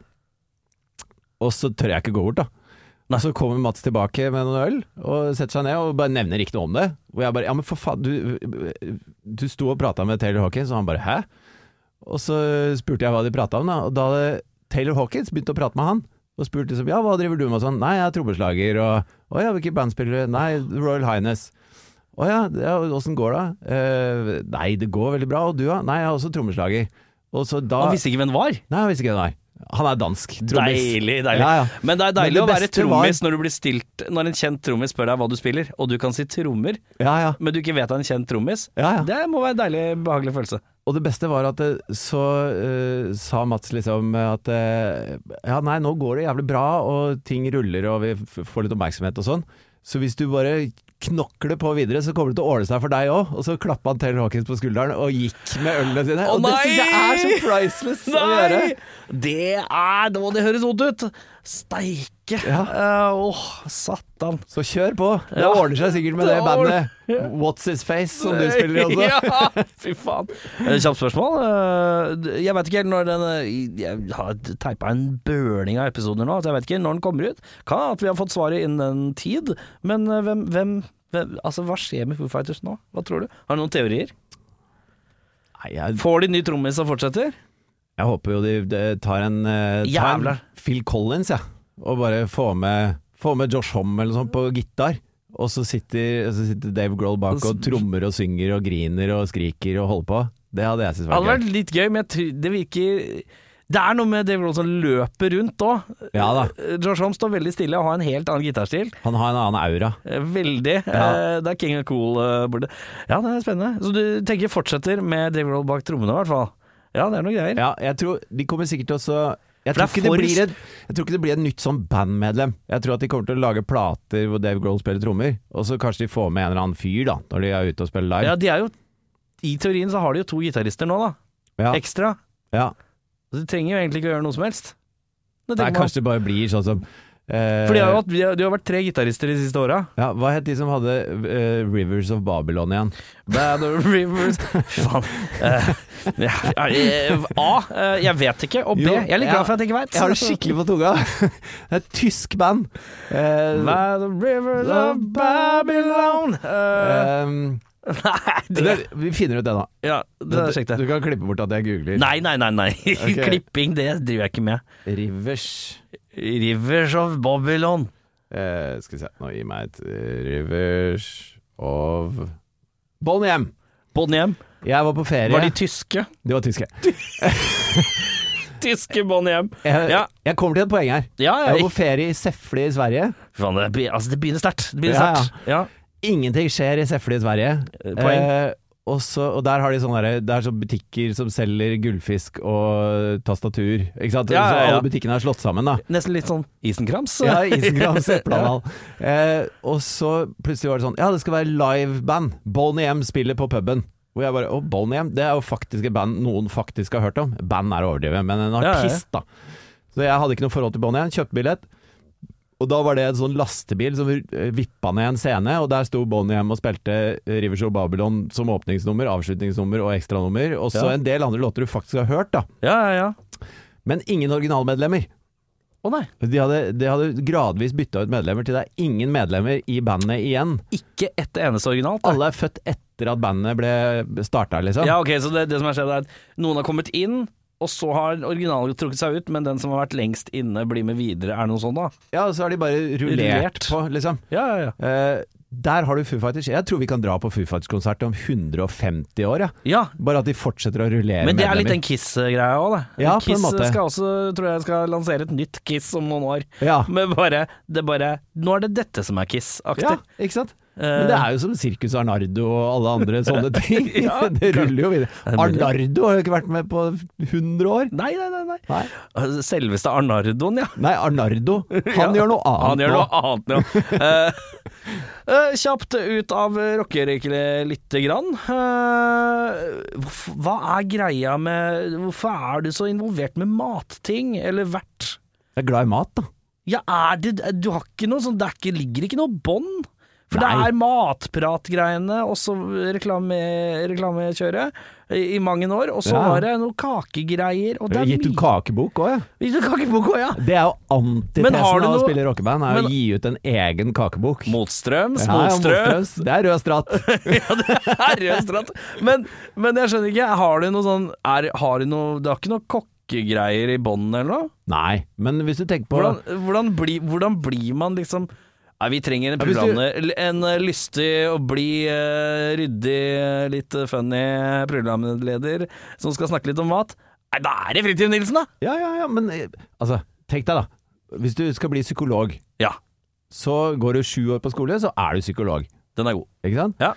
S2: og så tør jeg ikke gå bort, da.
S1: Nei.
S2: Og så kommer Mats tilbake med noen øl og setter seg ned og bare nevner ikke noe om det. Og jeg bare Ja, men for faen, du, du sto og prata med Taylor Hawkins, og han bare Hæ? Og så spurte jeg hva de prata om, da. Og da hadde Taylor Hawkins begynt å prate med han. Og spurte liksom Ja, hva driver du med? Og sånn. Nei, jeg er trommeslager. Og Å ja, hvilke band spiller du? i?» Nei, Royal Highness. Å ja, det- ja åssen går det? «Eh, nei, det går veldig bra. Og du, da? Nei, jeg er også trommeslager. Og så da
S1: Han visste ikke hvem det var.
S2: Nei, jeg visste ikke hvem han var. Han er dansk. Ah. Trommis.
S1: Deilig, deilig.
S2: Ja, ja.
S1: Men det er deilig
S2: Men det
S1: å være
S2: beste var-
S1: trommis når du blir stilt Når en kjent trommis spør deg hva du spiller, og du kan si trommer,
S2: Ja, ja.
S1: men du ikke vet av en kjent trommis.
S2: ja, ja.
S1: Det må være en deilig, behagelig følelse.
S2: Og det beste var at eh, så eh, sa Mats liksom at eh, Ja, nei, nå går det jævlig bra, og ting ruller, og vi f- får litt oppmerksomhet og sånn. Så hvis du bare knokle på videre, så kommer det til å ordne seg for deg òg. Og så klappa han Taylor Hawkins på skulderen og gikk med ølene sine.
S1: Å,
S2: og det syns jeg er så
S1: nei!
S2: priceless å gjøre.
S1: Nei! Det er Nå det høres vondt ut! Steike. Eh, Åh, satan.
S2: Så kjør på. Det
S1: Ja.
S2: ordner seg sikkert med det
S1: Det ordner-
S2: bandet What's His Face som du spiller i også.
S1: ja, altså. fy faen. Eh, Kjapt spørsmål. Eh, Jeg veit ikke helt når den eh, Jeg har teipa en bøling av episoder nå, så jeg vet ikke når den kommer ut. Kan hende at vi har fått svaret innen den tid, men eh, hvem, hvem, hvem Altså, hva skjer med Foo Fighters nå? Hva tror du? Har du noen teorier?
S2: Nei, jeg,
S1: Får de ny trommis og fortsetter?
S2: jeg håper jo de, de tar en, eh, tar en
S1: Jævla.
S2: Phil Collins, ja. og bare få med, få med Josh Homme eller sånn på gitar. Og så sitter, så sitter Dave Grohl bak og trommer og synger og griner og skriker og holder på. Det hadde jeg syntes
S1: Det hadde
S2: var gøy.
S1: vært litt gøy, men jeg tror det virker Det er noe med Dave Roll som løper rundt òg.
S2: Ja da.
S1: Josh Holm Eh, står veldig stille og har en helt annen gitarstil.
S2: Han har en annen aura.
S1: Eh, Veldig.
S2: Ja.
S1: Eh, Det er King of Cool eh, borte. Ja, det er spennende. Så du tenker fortsetter med Dave Roll bak trommene, i hvert fall. Ja, det er noen greier.
S2: Ja, jeg tror De kommer sikkert også jeg
S1: For
S2: tror,
S1: det
S2: ikke
S1: er
S2: det
S1: for-
S2: blir et, jeg tror ikke det blir et nytt sånn bandmedlem. Jeg tror at de kommer til å lage plater hvor Dave Grohl spiller trommer, og så kanskje de får med en eller annen fyr da når de er ute og spiller
S1: Ja,
S2: live.
S1: de er jo I teorien så har de jo to gitarister nå, da.
S2: Ja,
S1: Ekstra.
S2: ja.
S1: Så de trenger jo egentlig ikke å gjøre noe som helst. Det
S2: Nei,
S1: tenker man.
S2: kanskje det bare blir sånn som eh,
S1: For de har jo hatt, de har- de har vært tre gitarister de siste åra.
S2: ja, Hva het de som hadde eh, Rivers of Babylon igjen?
S1: Bad Rivers Fy faen. Eh, ja, eh, A. eh, jeg vet ikke. Og B.
S2: Jo,
S1: jeg er litt
S2: ja.
S1: glad for at jeg ikke veit.
S2: Jeg har det skikkelig på tunga! det er et tysk band. Eh,
S1: By the rivers of Babylon Eh,
S2: ehm,
S1: Nei, det,
S2: det, vi finner ut det, da.
S1: ja, det er kjekt,
S2: Du
S1: det.
S2: kan klippe bort at jeg googler.
S1: Nei, nei, nei. nei.
S2: Ok.
S1: Klipping, det driver jeg ikke med.
S2: Rivers
S1: Rivers of Babylon.
S2: Eh, skal vi se, nå gi meg et eh, rivers of Bonnehjem!
S1: Bonhjem.
S2: Jeg var på ferie.
S1: Var de tyske?
S2: de var tyske.
S1: Tyske Bonhjem.
S2: Jeg,
S1: Ja.
S2: jeg kommer til et poeng her.
S1: Ja,
S2: Jeg
S1: ja.
S2: var
S1: ikke-
S2: på ferie i Sefle i Sverige.
S1: Fy faen, det, be- altså, det begynner sterkt. Det begynner
S2: Ja, ja.
S1: sterkt. Ja.
S2: Ingenting skjer i Sefle i Sverige.
S1: Eh, Poeng.
S2: Eh, og, så, og der har de sånne der, det er sånne butikker som selger gullfisk og tastatur. Ikke sant?
S1: Ja, ja,
S2: Så
S1: ja.
S2: alle butikkene er slått sammen, da.
S1: Nesten litt sånn isenkrams.
S2: Ja, Isengrams Eplandal. Eh, og så plutselig var det sånn Ja, det skal være liveband. Boney M spiller på puben. Hvor jeg bare Å, Boney M, det er jo faktisk et band noen faktisk har hørt om. Band er å overdrive, men en
S1: ja.
S2: artist, da. Så jeg hadde ikke noe forhold til Boney M. Kjøpte billett. Og da var det en sånn lastebil som eh, vippa ned en scene, og der sto Boney M og spilte eh, Rivers of Babylon som åpningsnummer, avslutningsnummer og ekstranummer. Og så
S1: Ja.
S2: en del andre låter du faktisk har hørt, da.
S1: Ja, ja, ja.
S2: Men ingen originalmedlemmer.
S1: Å nei.
S2: De hadde, de hadde gradvis bytta ut medlemmer til det er ingen medlemmer i bandet igjen.
S1: Ikke ett eneste originalt. da.
S2: Alle er født etter at bandet ble starta, liksom.
S1: Ja, ok, så det, det som har skjedd er at noen har kommet inn, og så har originalen trukket seg ut, men den som har vært lengst inne blir med videre, er det noe sånt da?
S2: Ja, og så har de bare rullert
S1: Rullert.
S2: på, liksom.
S1: Ja, ja, ja.
S2: Eh, der har du Foo Fighters. Jeg tror vi kan dra på Foo Fighters-konsert om 150 år, ja.
S1: Ja,
S2: Bare at de fortsetter å rullere
S1: men det er litt
S2: medlemmer.
S1: den Kiss-greia òg, det.
S2: Ja, på en
S1: Kiss
S2: måte.
S1: skal også, tror jeg, skal lansere et nytt Kiss om noen år.
S2: Ja.
S1: Men bare, det er bare Nå er det dette som er Kiss-aktig.
S2: ja, ikke sant?
S1: Eh.
S2: Men det er jo som Sirkus Arnardo og alle andre sånne ting.
S1: Ja.
S2: det ruller jo videre.
S1: det mulig?
S2: Arnardo har jo ikke vært med på 100 år.
S1: Nei, nei, nei. nei.
S2: Nei,
S1: Selveste Arnardoen, ja.
S2: Nei Arnardo. Han
S1: Ja.
S2: gjør noe annet
S1: Han gjør
S2: nå.
S1: noe annet nå. Eh, eh, kjapt ut av rockerøykene lite grann. Eh, hvorf- hva er greia med Hvorfor er du så involvert med matting, eller vert?
S2: Jeg er glad i mat, da.
S1: Ja, er det Du har ikke noe sånn Det er ikke, ligger ikke noe bånd? For
S2: Nei.
S1: det er matpratgreiene, og så reklame, reklamekjøret i, i mange år. Og så
S2: Ja.
S1: var det noe kakegreier, og
S2: Du
S1: det er
S2: har gitt ut
S1: mye
S2: kakebok òg, ja.
S1: Gitt ut kakebok også, ja!
S2: Det er jo
S1: Men
S2: antitesen
S1: har
S2: av
S1: du
S2: å
S1: noe-
S2: spille rockeband, er
S1: Men-
S2: å gi ut en egen kakebok.
S1: Motstrøms,
S2: Ja, ja,
S1: motstrøms.
S2: motstrøms. Det er rød stratt.
S1: Ja, det er rød stratt. Men, men jeg skjønner ikke, har du noe sånn er, har du noe, Det har ikke noe kokkegreier i bånden eller noe?
S2: Nei, men hvis du tenker på
S1: Hvordan, hvordan, bli, hvordan blir man liksom Nei, vi trenger en
S2: Ja, hvis du-
S1: programleder En eh, lystig og blid, eh, ryddig, eh, litt funny programleder som skal snakke litt om mat. Nei, da er det Fridtjof Nilsen, da!
S2: Ja, ja, ja, men eh, altså, tenk deg da. Hvis du skal bli psykolog,
S1: Ja,
S2: så går du sju år på skole, så er du psykolog.
S1: den er god.
S2: Ikke sant?
S1: Ja.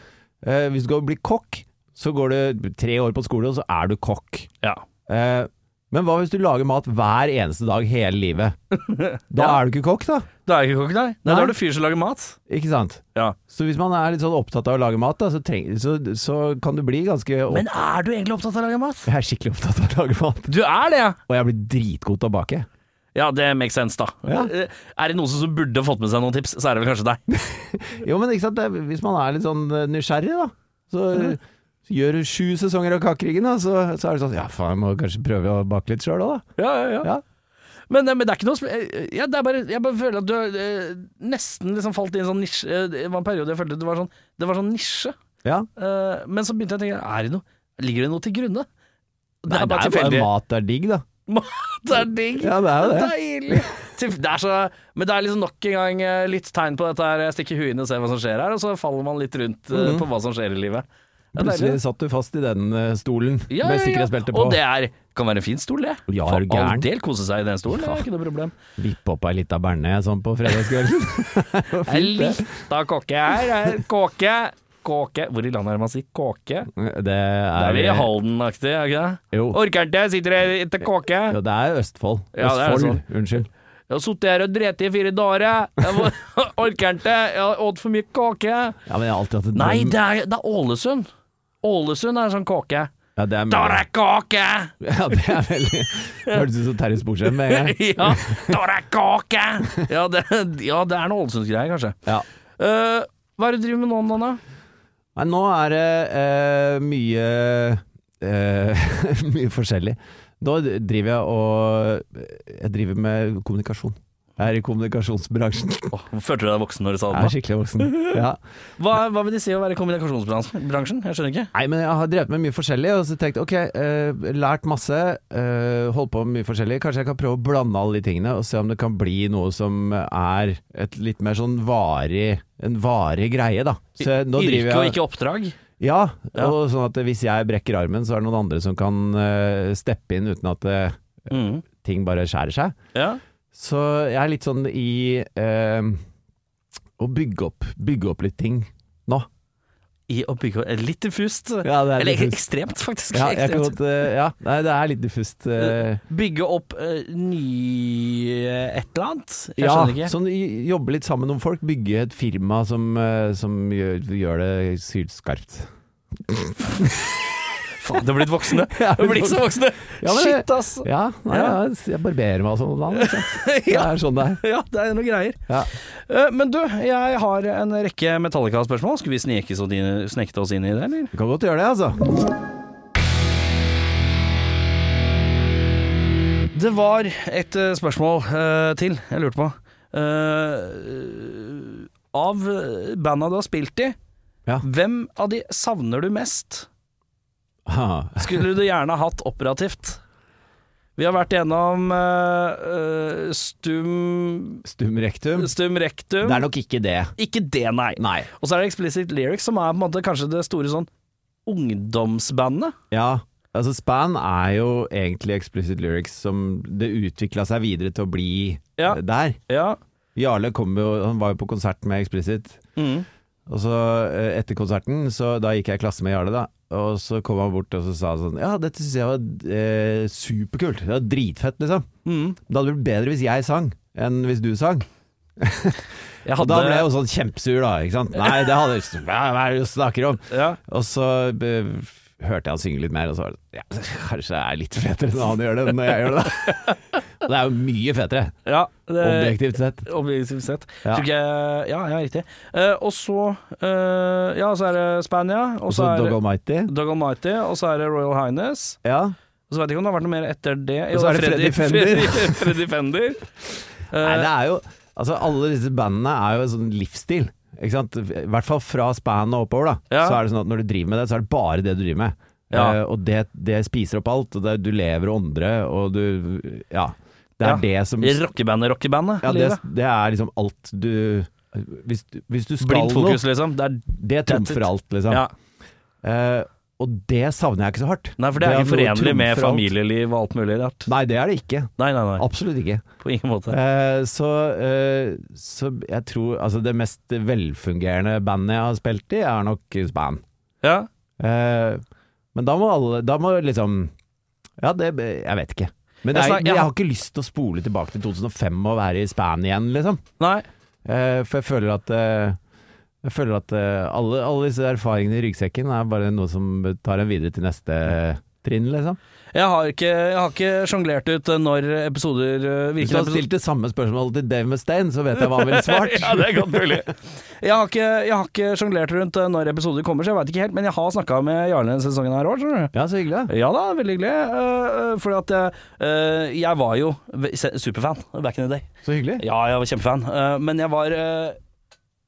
S2: Eh, hvis du skal bli kokk, så går du tre år på skole, og så er du kokk.
S1: Ja.
S2: Eh, Men hva hvis du lager mat hver eneste dag hele livet? Da er du ikke kokk, da.
S1: Da er jeg ikke kokk, nei. nei.
S2: Nei.
S1: Da er det fyr som lager mat.
S2: Ikke sant?
S1: Ja.
S2: Så hvis man er litt sånn opptatt av å lage mat, da, så, treng, så, så kan du bli ganske opp...
S1: Men er du egentlig opptatt av å lage mat?
S2: Jeg er skikkelig opptatt av å lage mat,
S1: Du er det, ja.
S2: og jeg blir dritgod til å bake.
S1: Ja, det makes sense, da.
S2: Ja.
S1: Eh, Er det noen som burde fått med seg noen tips, så er det vel kanskje deg.
S2: Jo, men ikke sant? Det, er- hvis man er litt sånn eh, nysgjerrig, da, så,
S1: Mhm.
S2: så gjør du sju sesonger av Kakerigen, da, så, så er det sånn Ja, faen, jeg må kanskje prøve å bake litt sjøl òg, da.
S1: Ja, ja,
S2: Ja.
S1: Men, eh, men det er ikke noe sp- eh, ja, det er bare, Jeg bare føler at du eh, nesten liksom falt i en sånn nisje eh, Det var en periode jeg følte det var sånn, det var sånn nisje.
S2: Ja.
S1: Eh, men så begynte jeg å tenke Er det noe? Ligger det noe til grunne? Det
S2: Nei,
S1: er bare tilfeldig.
S2: mat er digg, da.
S1: Mat er digg!
S2: Ja, det er jo det.
S1: Deilig! Til- Det er så, men det er liksom nok en gang eh, litt tegn på dette her. Jeg stikker huet inn og ser hva som skjer her, og så faller man litt rundt eh, på hva som skjer i livet. Det er deilig.
S2: Mhm. Plutselig satt du fast i den eh, stolen
S1: Ja, ja,
S2: med
S1: ja.
S2: sikkerhetsbelte på.
S1: Og det er, kan være en fin stol, det.
S2: Ja,
S1: For
S2: er du gæren?
S1: all del kose seg i den stolen, det er ikke noe problem.
S2: Vippe opp ei lita berne sånn på fredagskvelden.
S1: Det er litt av kåke her. det er Kåke. Kåke. Hvor i landet er det man sier kåke?
S2: Det
S1: Det
S2: er, eh,
S1: er vi i Halden-aktig, er det ikke det?
S2: Jo.
S1: Orker ikke, sitter her etter kåke.
S2: Jo, det er Østfold.
S1: Ja, det er sånn.
S2: Østfold, unnskyld.
S1: Jeg har sittet her og drept i fire dager. Jeg var- Orker ikke, jeg har åt for mye kåke.
S2: Ja, men jeg har alltid hatt et
S1: Nei,
S2: drøm-
S1: det er, det er Ålesund. Ålesund er en sånn kåke.
S2: ja, det er
S1: Da er
S2: mulig.
S1: det kåke!
S2: Ja, det er veldig Hørtes ut som Terje Sporsem med en gang.
S1: Ja, da er det kåke! Ja, det, ja, det er noe Ålesundsgreie, kanskje.
S2: Ja.
S1: Eh, hva er det du driver med nå om dagen, da?
S2: Nei, nå er det eh, mye eh, Mye forskjellig. Nå driver jeg og eh, Jeg driver med kommunikasjon. Jeg er i kommunikasjonsbransjen.
S1: følte du deg voksen når du sa
S2: Jeg er skikkelig voksen. Ja.
S1: Hva, hva vil de si å være i kommunikasjonsbransjen? Jeg skjønner ikke.
S2: Nei, men jeg har drevet med mye forskjellig, og så tenkte jeg ok, eh, lært masse, eh, holdt på med mye forskjellig, kanskje jeg kan prøve å blande alle de tingene og se om det kan bli noe som er et litt mer sånn varig, en varig greie, da. Så jeg- nå driver
S1: Yrke og
S2: jeg
S1: ikke oppdrag.
S2: Ja,
S1: Ja.
S2: og sånn at hvis jeg brekker armen, så er det noen andre som kan eh, steppe inn uten at eh, ting bare skjærer seg.
S1: Ja.
S2: Så jeg er litt sånn i eh, å bygge opp, bygge opp litt ting nå.
S1: I å bygge eh, Litt diffust.
S2: Ja, det er
S1: Eller
S2: litt
S1: ek-
S2: diffust.
S1: ekstremt, faktisk.
S2: Ja, jeg kan
S1: Ekstremt.
S2: godt, eh, ja. Nei, det er litt diffust. eh.
S1: Bygge opp eh, ny eh, et eller annet. Jeg
S2: ja,
S1: skjønner ikke.
S2: sånn i- jobbe litt sammen om folk, bygge et firma som, eh, som gjør, gjør det sylskarpt.
S1: Faen, det er blitt voksne. Det er blitt så voksne.
S2: Ja, men det-
S1: Shit, ass.
S2: Ja, nei,
S1: Ja.
S2: ja. jeg barberer meg og sånn. da, ikke sant? Det
S1: Ja.
S2: er sånn det er.
S1: Ja, det er noe greier.
S2: Ja.
S1: Eh, men du, jeg har en rekke Metallica-spørsmål. Skulle vi sneke så de- snekte oss inn i det, eller?
S2: Du kan godt gjøre det, altså.
S1: Det var et eh, spørsmål eh, til jeg lurte på. Eh, av banda du har spilt i,
S2: Ja.
S1: hvem av de savner du mest?
S2: Ha.
S1: Skulle du gjerne hatt operativt? Vi har vært gjennom eh, eh, stum,
S2: Stum rektum.
S1: stum
S2: Det
S1: rektum.
S2: er nok ikke det.
S1: Ikke det, nei.
S2: Nei.
S1: Og så er det Explicit Lyrics, som er på en måte kanskje det store sånn ungdomsbandet.
S2: Ja. Altså, Span er jo egentlig Explicit Lyrics som det utvikla seg videre til å bli
S1: Ja.
S2: eh, der.
S1: Ja.
S2: Jarle kom jo, han var jo på konsert med Explicit.
S1: Mm.
S2: Og så eh, etter konserten, så da gikk jeg i klasse med Jarle da Og så kom han bort og så sa han sånn Ja, dette synes jeg var eh, superkult Det var dritfett liksom
S1: Mm.
S2: Det hadde blitt bedre hvis jeg sang enn hvis du sang
S1: Jeg
S2: Og
S1: hadde
S2: da ble jeg jo sånn kjempesur da, ikke sant? Nei, det hadde jeg ikke Hva hva er det du snakker om?
S1: ja.
S2: Og så eh, hørte jeg han synge litt mer Og så var det sånn, ja, kanskje jeg er litt fetere enn han gjør det Når jeg gjør det da Det er jo mye fetere,
S1: ja det,
S2: objektivt sett
S1: Objektivt sett.
S2: Ja.
S1: Eh, Tror ikke jeg, ja, ja, riktig. Eh, og så eh, Ja, så er det Spania, og
S2: Og
S1: så
S2: så
S1: er
S2: Dog
S1: det
S2: Almighty
S1: Doug Almighty, og så er det Royal Highness.
S2: Ja,
S1: Og så vet jeg ikke om det har vært noe mer etter det.
S2: Og så er det Freddy Fender.
S1: Freddy, Freddy Fender. Eh,
S2: Nei, det er jo Altså, alle disse bandene er jo en sånn livsstil. Ikke sant? I hvert fall fra spannet og oppover, da.
S1: Ja.
S2: Så er det sånn at når du driver med det, så er det bare det du driver med.
S1: Ja.
S2: Eh, og det, det spiser opp alt. Og det, du lever og åndrer, og du Ja. Det er
S1: Ja.
S2: det som Ja,
S1: Eh, Rockebandet, rockebandet.
S2: det,
S1: livet.
S2: det er liksom alt du Hvis, du- hvis du skal
S1: Blindt
S2: noe,
S1: fokus, liksom. Det er,
S2: det er tomt
S1: That's it.
S2: for alt, liksom.
S1: ja.
S2: Eh, og det savner jeg ikke så hardt.
S1: Nei, for det er ikke
S2: noe
S1: forenlig
S2: tomt
S1: med
S2: for alt.
S1: familieliv og alt mulig rart.
S2: Nei, det er det ikke.
S1: Nei, nei, nei.
S2: Absolutt ikke.
S1: På ingen måte.
S2: Eh, så, eh, så jeg tror Altså det mest velfungerende bandet jeg har spilt i, er nok Span.
S1: Ja.
S2: Eh, men da må alle Da må liksom Ja, det Jeg vet ikke. Men det
S1: Jeg
S2: er,
S1: snak-
S2: jeg,
S1: jeg-
S2: har ikke lyst til å spole tilbake til 2005 og være i Span igjen, liksom.
S1: Nei.
S2: Eh, for jeg føler at eh, Jeg føler at eh, alle, alle disse erfaringene i ryggsekken er bare noe som tar en videre til neste trinn, liksom.
S1: Jeg har ikke, jeg har ikke sjonglert ut eh, når episoder eh,
S2: Hvis du
S1: Hvilke
S2: hadde
S1: episoder
S2: stilt det samme spørsmålet til Dave Mustaine, så vet jeg hva han ville svart.
S1: Ja, det er godt mulig. Jeg har ikke, jeg har ikke sjonglert rundt eh, når episoder kommer, så jeg veit ikke helt. Men jeg har snakka med Jarle denne sesongen her òg, skjønner du.
S2: Ja, så hyggelig. da.
S1: Ja da, veldig hyggelig. Uh, fordi at eh, jeg var jo ve- se- superfan back in the day.
S2: Så hyggelig.
S1: Ja, jeg var kjempefan. Eh, men jeg var eh,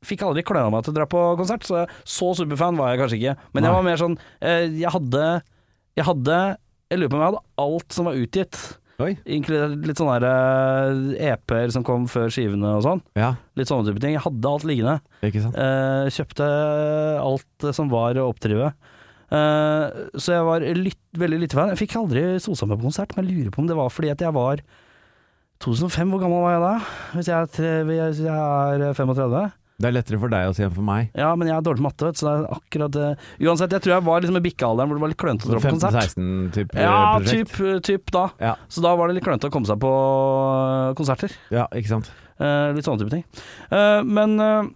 S1: Fikk aldri kløna meg til å dra på konsert, så så superfan var jeg kanskje ikke. Men jeg
S2: Nei.
S1: var mer sånn eh, Jeg hadde Jeg hadde Jeg lurer på om jeg hadde alt som var utgitt.
S2: Oi.
S1: Inkludert litt sånne der, eh, EP-er som kom før skivene og sånn.
S2: Ja,
S1: Litt sånne type ting. Jeg hadde alt liggende.
S2: ikke sant.
S1: Eh, kjøpte alt som var å oppdrive. Eh, så jeg var lytt, veldig lyttefan. Jeg fikk aldri sosa meg på konsert, men jeg lurer på om det var fordi at jeg var 2005, hvor gammel var jeg da? Hvis jeg er, tre, hvis jeg er 35?
S2: Det er lettere for deg å si enn for meg.
S1: Ja, men jeg er dårlig på matte, vet du, så det er akkurat det. Uansett, jeg tror jeg var liksom i bikkealderen hvor det var litt klønete å dra på konsert.
S2: 15-16-type
S1: Ja,
S2: prosjekt.
S1: typ, typ da.
S2: Ja.
S1: Så da var det litt klønete å komme seg på eh, konserter.
S2: Ja, ikke sant.
S1: Eh, litt sånne type ting. Eh, men eh,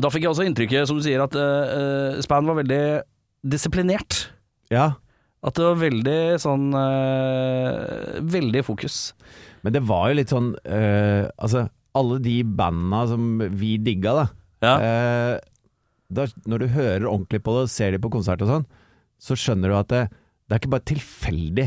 S1: da fikk jeg også inntrykket, som du sier, at eh, eh, Span var veldig disiplinert.
S2: Ja.
S1: At det var veldig sånn eh, Veldig fokus.
S2: Men det var jo litt sånn eh, Altså, alle de bandene som vi digga, da. eh, da når du hører ordentlig på det og ser de på konsert og sånn, så skjønner du at det, det er ikke bare tilfeldig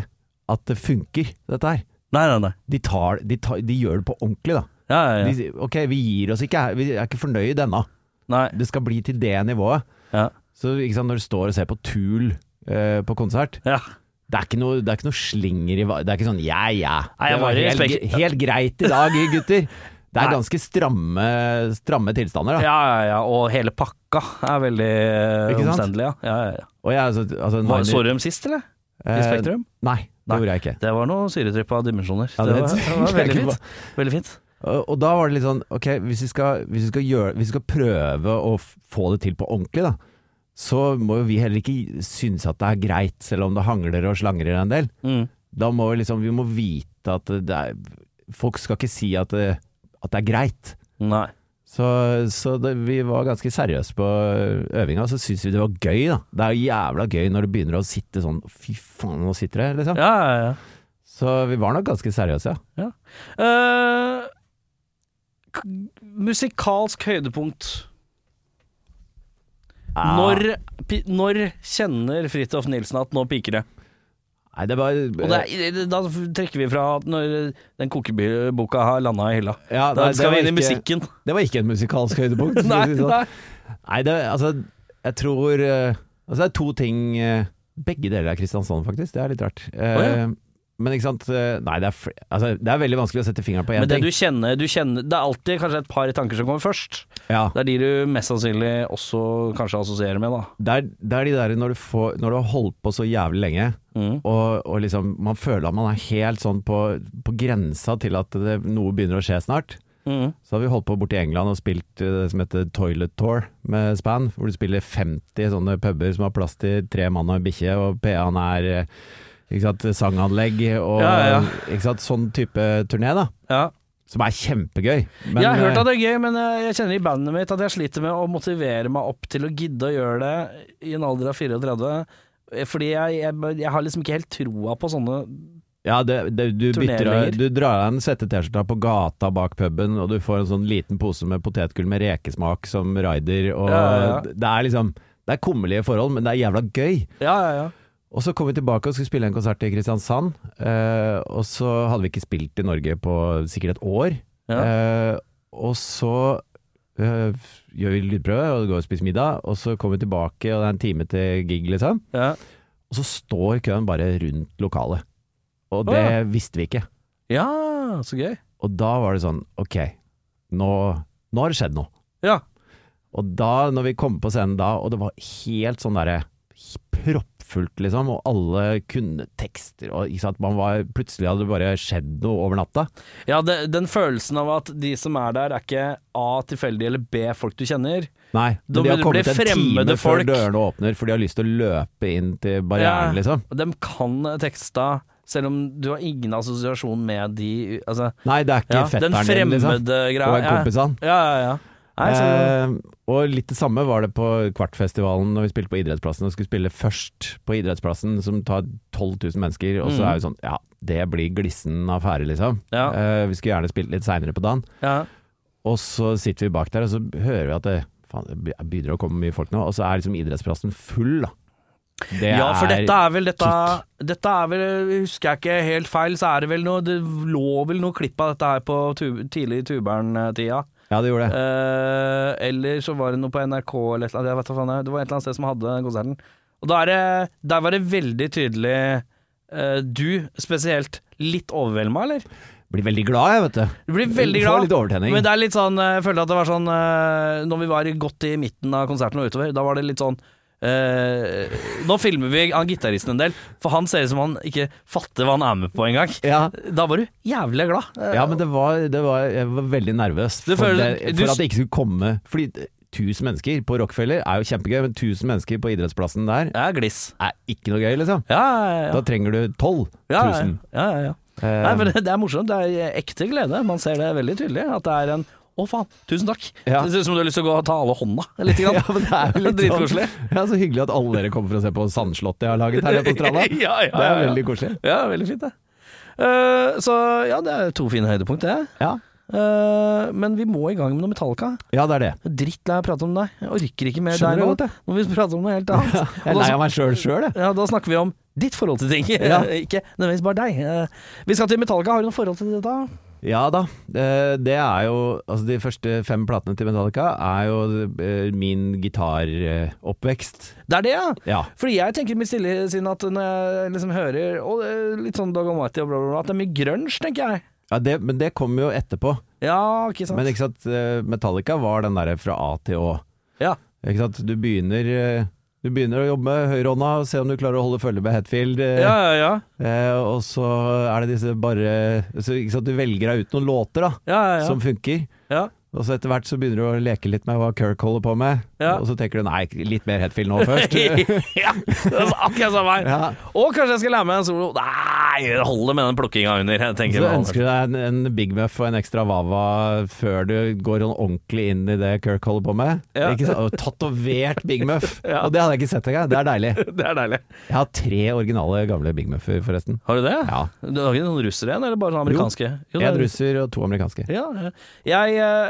S2: at det funker, dette her.
S1: Nei, nei, nei.
S2: De, tar, de, tar, de gjør det på ordentlig, da.
S1: Ja, ja, ja.
S2: De, sier, ok, vi gir oss ikke, her, vi er ikke fornøyd ennå.
S1: nei.
S2: Det skal bli til det nivået.
S1: Ja.
S2: Så ikke sant, når du står og ser på Tool eh, på konsert,
S1: Ja.
S2: det er ikke noe, det er ikke noe slinger i va- Det er ikke sånn ja, ja.
S1: Nei, jeg
S2: det var
S1: var i
S2: helt,
S1: spek-
S2: gre- helt greit i dag, gutter. Det er
S1: Nei.
S2: ganske stramme, stramme tilstander.
S1: ja,
S2: Da.
S1: ja, ja. Og hele pakka er veldig eh,
S2: Ikke sant?
S1: omstendelig, ja. ja, ja, ja.
S2: Og jeg, altså, altså,
S1: Var,
S2: Niner-
S1: så du dem sist, eller? I
S2: eh,
S1: Spektrum?
S2: Nei, det
S1: Nei.
S2: gjorde jeg ikke.
S1: Det var noe syretripp av dimensjoner.
S2: Ja,
S1: det,
S2: det
S1: var, det var
S2: tenker jeg
S1: veldig
S2: ikke
S1: fint. Veldig fint.
S2: Og, og da var det litt sånn Ok, hvis vi skal, hvis vi skal, gjøre, hvis vi skal prøve å f- få det til på ordentlig, da. Så må jo vi heller ikke synes at det er greit, selv om det hangler og slangrer en del.
S1: Mm.
S2: Da må vi liksom Vi må vite at det er Folk skal ikke si at det, at det er greit.
S1: Nei.
S2: Så, så det, vi var ganske seriøse på eh, øvinga, så syns vi det var gøy, da. Det er jo jævla gøy når det begynner å sitte sånn Fy faen, nå sitter det, liksom.
S1: Ja, ja, ja.
S2: Så vi var nok ganske seriøse, ja.
S1: Eh, k- musikalsk høydepunkt.
S2: Ah,
S1: Når, pi- når kjenner Fridtjof Nilsen at nå piker det?
S2: Nei, det var
S1: Og det, er- da trekker vi fra at når den kokeboka har landa i hylla.
S2: ja,
S1: Da
S2: nei, det
S1: skal vi
S2: var
S1: inn i
S2: ikke-
S1: musikken.
S2: Det var ikke et musikalsk høydepunkt. for å
S1: Nei,
S2: si det sånn.
S1: nei.
S2: Nei, det, altså, jeg tror eh, Altså, det er to ting eh, Begge deler er Kristiansand, faktisk. Det er litt rart. Eh,
S1: Å,
S2: Men ikke sant eh, Nei, det er, fl- altså, det er veldig vanskelig å sette fingeren på én
S1: Men det
S2: ting.
S1: du kjenner, du kjenner Det er alltid kanskje et par tanker som kommer først.
S2: Ja,
S1: Det er de du mest sannsynlig også kanskje assosierer med, da.
S2: det, er, det er de der når du, får, når du har holdt på så jævlig lenge,
S1: Mm.
S2: og, og liksom man føler at man er helt sånn på, på grensa til at det, noe begynner å skje snart.
S1: Mm.
S2: Så har vi holdt på borti England og spilt eh, det som heter Toilet Tour med Span, hvor du spiller 50 sånne puber som har plass til tre mann og en bikkje, og PA-en er eh, ikke sant, sanganlegg og
S1: Ja, ja.
S2: Ikke sant, sånn type turné, da.
S1: Ja.
S2: Som er kjempegøy. Men,
S1: jeg har hørt
S2: eh,
S1: at det er gøy, men eh, jeg kjenner i bandet mitt at jeg sliter med å motivere meg opp til å gidde å gjøre det i en alder av 34. eh, Fordi jeg, jeg, jeg har liksom ikke helt troa på sånne
S2: Ja, det, det, du, bytter,
S1: Turneringer.
S2: du drar av den svette T-skjorta på gata bak puben, og du får en sånn liten pose med potetgull med rekesmak som rider, og
S1: Ja, ja, ja.
S2: det er liksom Det er kummerlige forhold, men det er jævla gøy.
S1: Ja, ja, ja.
S2: Og så kom vi tilbake og skulle spille en konsert i Kristiansand. Eh, og så hadde vi ikke spilt i Norge på sikkert et år.
S1: Ja.
S2: Eh, og så eh, gjør vi lydprøve og går og spiser middag, og så kommer vi tilbake, og det er en time til gig, liksom.
S1: ja.
S2: Og så står køen bare rundt lokalet. Og det
S1: Å,
S2: visste vi ikke.
S1: ja så gøy.
S2: Og da var det sånn, ok, nå, nå har det skjedd noe.
S1: Ja.
S2: Og da, når vi kom på scenen da, og det var helt sånn derre proppfullt, liksom, og alle kunne tekster, og ikke sant, man var Plutselig hadde det bare skjedd noe over natta.
S1: ja det, den følelsen av at de som er der, er ikke A tilfeldig eller B folk du kjenner.
S2: Nei,
S1: Da
S2: men de har
S1: blir det
S2: kommet en time
S1: fremmede
S2: før
S1: folk.
S2: dørene åpner, for de har lyst til å løpe inn til barrieren,
S1: Ja.
S2: liksom.
S1: De kan teksta Selv om du har ingen assosiasjon med de altså,
S2: Nei, det er ikke
S1: ja, Den
S2: fetteren din, liksom.
S1: fremmede greia.
S2: Og en kompis av han.
S1: Ja, ja, ja. Nei, så,
S2: Eh, og litt det samme var det på Kvartfestivalen når vi spilte på Idrettsplassen og skulle spille først på Idrettsplassen, som tar 12 000 mennesker, og så
S1: Mm.
S2: er jo sånn Ja, det blir glissen affære, liksom.
S1: Ja.
S2: Eh, vi skulle gjerne spilt litt seinere på dagen.
S1: ja.
S2: Og så sitter vi bak der, og så hører vi at det faen, det be- begynner å komme mye folk nå, og så er liksom Idrettsplassen full, da. Det
S1: ja, for
S2: er-
S1: dette er vel dette, dette er vel, husker jeg ikke helt feil, så er det vel noe Det lå vel noe klipp av dette her på tu, tidlig i Tubern-tida.
S2: Ja, det gjorde det.
S1: Eh, eller så var det noe på NRK eller et eller annet. Jeg vet hva faen det er. Det var et eller annet sted som hadde den konserten. Og da er det, der var det veldig tydelig eh, Du spesielt litt overvelda, eller?
S2: Blir veldig glad, jeg, vet du.
S1: Du blir veldig
S2: Får
S1: glad.
S2: litt overtenning.
S1: Men det er litt sånn eh, Jeg følte at det var sånn eh, Når vi var godt i midten av konserten og utover, da var det litt sånn eh, Nå filmer vi han gitaristen en del, for han ser ut som han ikke fatter hva han er med på engang.
S2: Ja.
S1: Da var du jævlig glad. Eh,
S2: Ja, men det var, det var Jeg var veldig nervøs
S1: Du
S2: for,
S1: føler-
S2: det,
S1: du-
S2: for at det ikke skulle komme Fordi 1000 mennesker på Rockefeller er jo kjempegøy, men 1000 mennesker på idrettsplassen der
S1: Det er gliss.
S2: er ikke noe gøy, liksom.
S1: Ja, ja, ja.
S2: Da trenger du 12
S1: ja, ja,
S2: 000.
S1: ja, ja, ja.
S2: Eh,
S1: Nei, men det, det er morsomt. Det er ekte glede. Man ser det veldig tydelig. At det er en Å, faen. Tusen takk.
S2: Ja.
S1: Det ser ut som du har lyst til å gå og ta alle hånda litt. Grann.
S2: ja, men det er jo litt
S1: Dritkoselig.
S2: Sånn, ja, så hyggelig at alle dere kommer for å se på Sandslottet jeg har laget her på stranda.
S1: ja, ja,
S2: Det
S1: ja,
S2: er
S1: ja.
S2: veldig koselig.
S1: Ja, veldig fint, det. Eh, så ja, det er to fine høydepunkt, det.
S2: Ja,
S1: Eh, men vi må i gang med noe Metallica.
S2: ja det er det.
S1: Jeg er Drittlei av å prate om deg. Jeg orker ikke mer
S2: Skjønner
S1: der
S2: du
S1: nå.
S2: godt, jeg.
S1: Nå må vi prate om noe helt annet.
S2: Jeg er lei av meg sjøl sjøl, jeg.
S1: Ja, da snakker vi om ditt forhold til ting,
S2: Ja.
S1: ikke nødvendigvis bare deg. Eh, vi skal til Metallica. Har du noe forhold til dette?
S2: Ja da. eh, Det er jo Altså, de første fem platene til Metallica er jo eh, min gitaroppvekst.
S1: Det er det, ja.
S2: Ja.
S1: Fordi jeg tenker med stille sinn at når jeg liksom hører og det er litt sånn Dog Almighty og bla, bla, bla, at det er mye grunge, tenker jeg.
S2: Ja, det, men det kom jo etterpå.
S1: Ja, ikke sant?
S2: Men ikke sant, eh, Metallica var den derre fra A til Å.
S1: ja.
S2: Ikke sant? Du begynner eh, du begynner å jobbe med høyrehånda og se om du klarer å holde følge med Hetfield. eh,
S1: ja, ja, ja.
S2: eh, Og så er det disse bare så, ikke sant, Du velger deg ut noen låter da,
S1: Ja, ja, ja.
S2: som funker.
S1: ja.
S2: Og så etter hvert så begynner du å leke litt med hva Kirk holder på med.
S1: Ja.
S2: Og så tenker du nei, litt mer Hetfield nå først.
S1: ja, det er akkurat samme her.
S2: Ja.
S1: Og kanskje jeg skal lære meg en solo. Nei, det holder med den plukkinga under. Jeg tenker
S2: Så
S1: jeg.
S2: ønsker du deg en, en Big Muff og en ekstra Wawa før du går sånn ordentlig inn i det Kirk holder på med.
S1: Ja.
S2: Ikke så, og tatovert Big Muff!
S1: Ja.
S2: Og det hadde jeg ikke sett engang. Det er deilig.
S1: Det er deilig.
S2: Jeg har tre originale gamle Big Muffer, forresten.
S1: Har du det?
S2: Ja.
S1: Du har ikke noen russere igjen, eller bare sånn amerikanske? Jo, det
S2: En
S1: er-
S2: russer og to amerikanske.
S1: Ja, jeg, eh,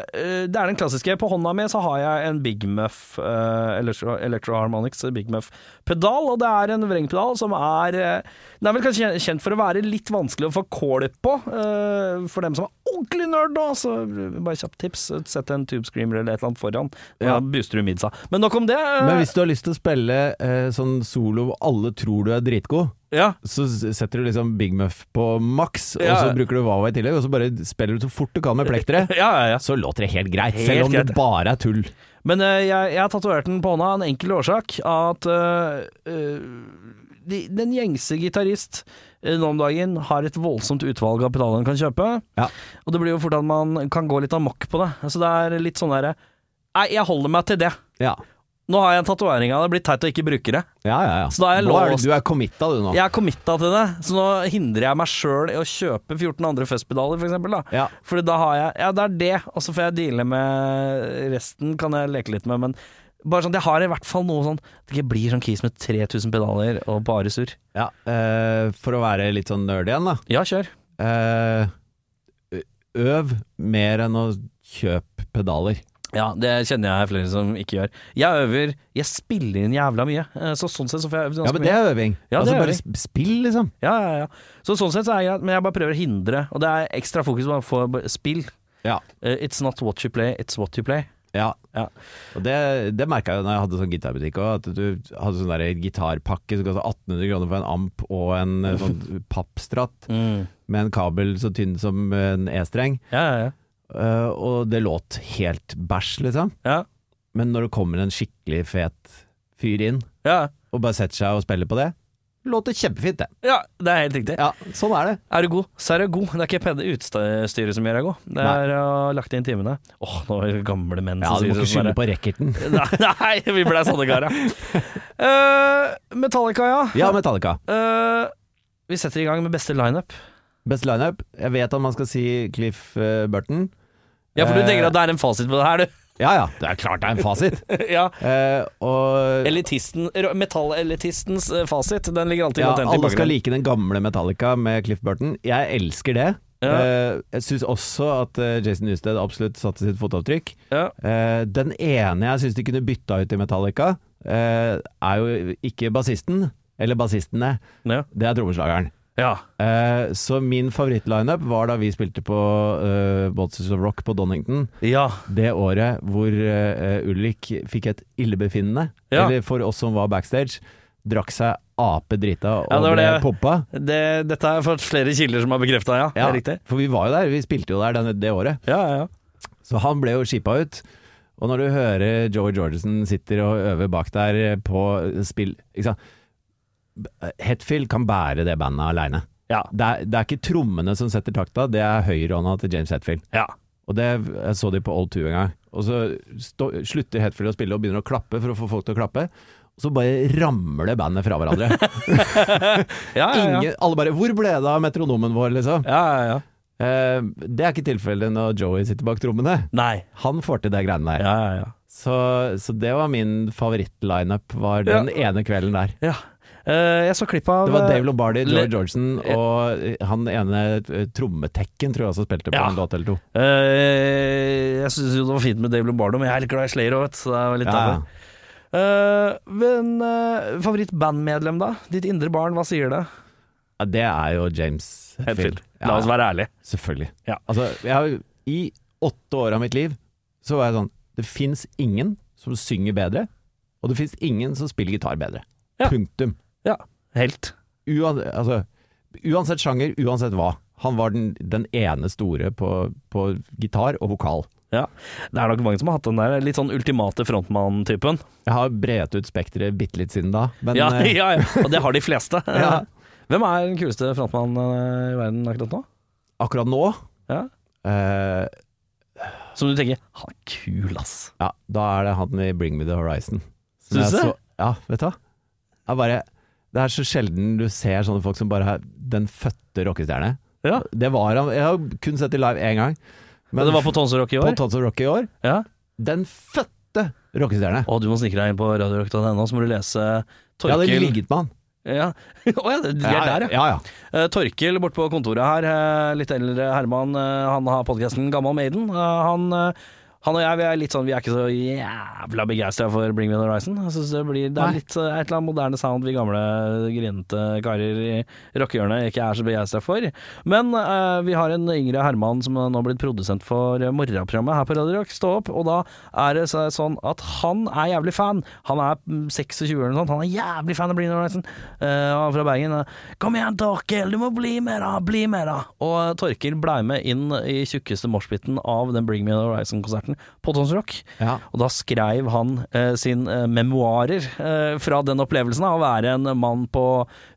S1: det er den klassiske. På hånda mi så har jeg en Big Muff eh, Electro Electroharmonics Big Muff-pedal, og det er en vrengpedal som er eh, Den er vel kanskje kjen- kjent for å være litt vanskelig å få kålet på, eh, for dem som er ordentlig nerd, da. Så eh, bare kjapt tips, sett en Tube Screamer eller et eller annet foran, da
S2: Ja.
S1: booster du midsa. Men nok om det. eh,
S2: Men hvis du har lyst til å spille eh, sånn solo hvor alle tror du er dritgod,
S1: ja.
S2: så s- setter du liksom Big Muff på maks, og
S1: Ja.
S2: så bruker du Wawa i tillegg, og så bare spiller du så fort du kan med plekteret.
S1: Ja, ja, ja.
S2: Så låter det helt greit,
S1: Helt
S2: selv om
S1: greit.
S2: det bare er tull.
S1: Men eh, jeg, jeg har tatovert den på hånda av en enkel årsak. At eh, eh, de, den gjengse gitarist eh, nå om dagen har et voldsomt utvalg av pedaler han kan kjøpe.
S2: Ja.
S1: Og det blir jo fort at man kan gå litt amok på det. Så det er litt sånn derre Nei, jeg holder meg til det.
S2: Ja,
S1: Nå har jeg en tatovering av det, blir teit å ikke bruke det.
S2: ja, ja. ja.
S1: Så da er jeg
S2: Nå er
S1: låst.
S2: du, du er committa du nå.
S1: Jeg er committa til det, så nå hindrer jeg meg sjøl i å kjøpe 14 andre Fuzz-pedaler, for eksempel. Da.
S2: Ja.
S1: Fordi da har jeg Ja, det er det, og så får jeg deale med resten, kan jeg leke litt med, men bare sånn, jeg har i hvert fall noe sånn At jeg ikke blir sånn kis med 3000 pedaler og bare sur.
S2: Ja, eh, for å være litt sånn nerd igjen, da.
S1: Ja, kjør.
S2: Eh, ø- øv mer enn å kjøpe pedaler.
S1: Ja, det kjenner jeg flere som ikke gjør. Jeg øver Jeg spiller inn jævla mye, eh, så sånn sett så får jeg øvd
S2: Ja,
S1: ganske
S2: men det
S1: mye.
S2: er øving.
S1: Ja, det
S2: altså
S1: er
S2: bare
S1: øving.
S2: sp- spill, liksom.
S1: Ja, ja, ja. Så sånn sett så er jeg greit, men jeg bare prøver å hindre, og det er ekstra fokus på å få b- spill.
S2: Ja.
S1: Eh, It's not what you play, it's what you play.
S2: Ja.
S1: Ja.
S2: Og det, det merka jeg jo når jeg hadde sånn gitarbutikk òg, at du hadde sånn der gitarpakke som kosta 1800 kroner for en amp og en eh, sånn pappstratt med en kabel så tynn som en E-streng,
S1: Ja, ja, ja.
S2: Eh, og det låt helt bæsj, liksom.
S1: Ja.
S2: Men når det kommer en skikkelig fet fyr inn
S1: Ja,
S2: og bare setter seg og spiller på det, låter kjempefint, det.
S1: ja, det er helt riktig.
S2: Ja, sånn er det.
S1: Er du god, så er du god. Det er ikke ped- utstyret som gjør deg god. Det
S2: Nei.
S1: er å ha lagt inn timene. Åh, nå er det gamle menn
S2: Ja,
S1: som
S2: du
S1: sier
S2: må ikke skylde
S1: sånn.
S2: på racketen.
S1: derre- Nei, nei, vi blei sånne karer. ja. Eh, Metallica, ja.
S2: Ja, Metallica.
S1: Eh, Vi setter i gang med beste lineup.
S2: Best lineup. Jeg vet at man skal si Cliff eh, Burton.
S1: Ja, for du
S2: Eh,
S1: tenker at det er en fasit på det her, du.
S2: Ja ja, det er klart det er en fasit.
S1: ja.
S2: Eh, og
S1: Elitisten, ro- metallelitistens eh, fasit, den ligger alltid
S2: ja,
S1: latent i
S2: alle skal
S1: bakgrunnen.
S2: like den gamle Metallica med Cliff Burton. Jeg elsker det.
S1: Ja.
S2: Eh, jeg syns også at eh, Jason Newsted absolutt satte sitt fotavtrykk.
S1: Ja.
S2: Eh, den ene jeg syns de kunne bytta ut i Metallica, eh, er jo ikke bassisten, eller bassistene.
S1: Ja.
S2: Det er trommeslageren.
S1: ja.
S2: Eh, så min favorittlineup var da vi spilte på eh, Bolsters of Rock på Donington.
S1: ja.
S2: Det året hvor eh, Ulrik fikk et illebefinnende,
S1: Ja.
S2: eller for oss som var backstage, drakk seg apedrita og
S1: Ja, det var
S2: ble
S1: det.
S2: poppa.
S1: Det, dette har jeg fått flere kilder som har bekrefta, ja. Det
S2: Ja,
S1: er riktig.
S2: for vi var jo der, vi spilte jo der den, det året.
S1: Ja, ja, ja.
S2: Så han ble jo skipa ut. Og når du hører Joey Georgeson sitter og øver bak der på spill ikke sant? Hetfield kan bære det bandet aleine.
S1: Ja.
S2: Det, er- det er ikke trommene som setter takta, det er høyrehånda til James Hetfield.
S1: Ja.
S2: Og det jeg så de på Old 2 en gang. Og så stå, slutter Hetfield å spille og begynner å klappe for å få folk til å klappe. Og så bare ramler bandet fra hverandre.
S1: Ja, ja, ja.
S2: Ingen, alle bare 'Hvor ble det av metronomen vår?' liksom.
S1: ja, ja, ja.
S2: Eh, det er ikke tilfellet når Joey sitter bak trommene.
S1: Nei.
S2: Han får til det greiene der.
S1: Ja, ja, ja.
S2: Så, så det var min favorittlineup var den ene kvelden der.
S1: ja. Eh, jeg så klipp av
S2: Det var Dave Lombardi, Joy
S1: Le-
S2: Georgeson og han ene eh, trommetekken tror jeg også spilte på
S1: Ja.
S2: en låt eller to.
S1: Eh, jeg syns jo det var fint med Dave Lombardo, men jeg er litt glad i Slayer òg, vet du. Så det er litt
S2: Ja, ja.
S1: derfor. Eh, men eh, favorittbandmedlem, da? Ditt indre barn, hva sier det?
S2: Ja, det er jo James Hetfield.
S1: La oss
S2: Ja,
S1: være ærlige.
S2: Selvfølgelig.
S1: Ja.
S2: Altså, jeg, har- I åtte år av mitt liv så var jeg sånn Det fins ingen som synger bedre, og det fins ingen som spiller gitar bedre.
S1: Ja.
S2: Punktum.
S1: Ja. Helt.
S2: Uan, altså, uansett sjanger, uansett hva. Han var den, den ene store på, på gitar og vokal.
S1: Ja. Det er nok mange som har hatt den der litt sånn ultimate frontmann-typen.
S2: Jeg har bredt ut spekteret bitte litt siden da, men
S1: Ja,
S2: eh,
S1: ja, ja. Og det har de fleste.
S2: Ja.
S1: Hvem er den kuleste frontmannen eh, i verden akkurat nå?
S2: akkurat nå
S1: Ja.
S2: eh,
S1: Som du tenker Han er kul, ass.
S2: ja, Da er det han i Bring Me The Horizon. Som
S1: Syns
S2: jeg
S1: du?
S2: så- Ja, vet du hva? Jeg bare, det er så sjelden du ser sånne folk som bare har den fødte rockestjerne.
S1: Ja.
S2: Det var han. Jeg har kun sett det live én gang.
S1: Men det var på Tonsor Rock i år?
S2: på Tots of Rock i år.
S1: Ja.
S2: Den fødte rockestjerne.
S1: Å, du må snike deg inn på radiorock.no, så må du lese
S2: Jeg hadde
S1: Torkil
S2: ligget med han.
S1: Ja. Å ja, de er der, ja.
S2: ja, ja.
S1: Eh, Torkil borte på kontoret her, eh, litt eldre Herman, eh, han har podkasten Gammal Maiden. Eh, han, eh, han og jeg vi er litt sånn Vi er ikke så jævla begeistra for Bring Me The Horizon. Jeg synes det, blir, det
S2: Nei.
S1: er litt eh, et eller annet moderne sound vi gamle grinete karer i rockehjørnet ikke er så begeistra for. Men eh, vi har en yngre Herman som nå har blitt produsent for eh, morgenprogrammet her på Radio Rock, Stå opp, og da er det så- sånn at han er jævlig fan. Han er mm, 26 eller noe sånt, han er jævlig fan av Bring Me The Horizon. Eh, og han er fra Bergen. eh, Kom igjen, Torkil, du må bli med, da! Bli med, da! Og Torkil blei med inn i tjukkeste moshpiten av den Bring Me The Horizon-konserten på Tons Rock.
S2: ja.
S1: Og da skrev han eh, sin eh, memoarer eh, fra den opplevelsen av å være en mann på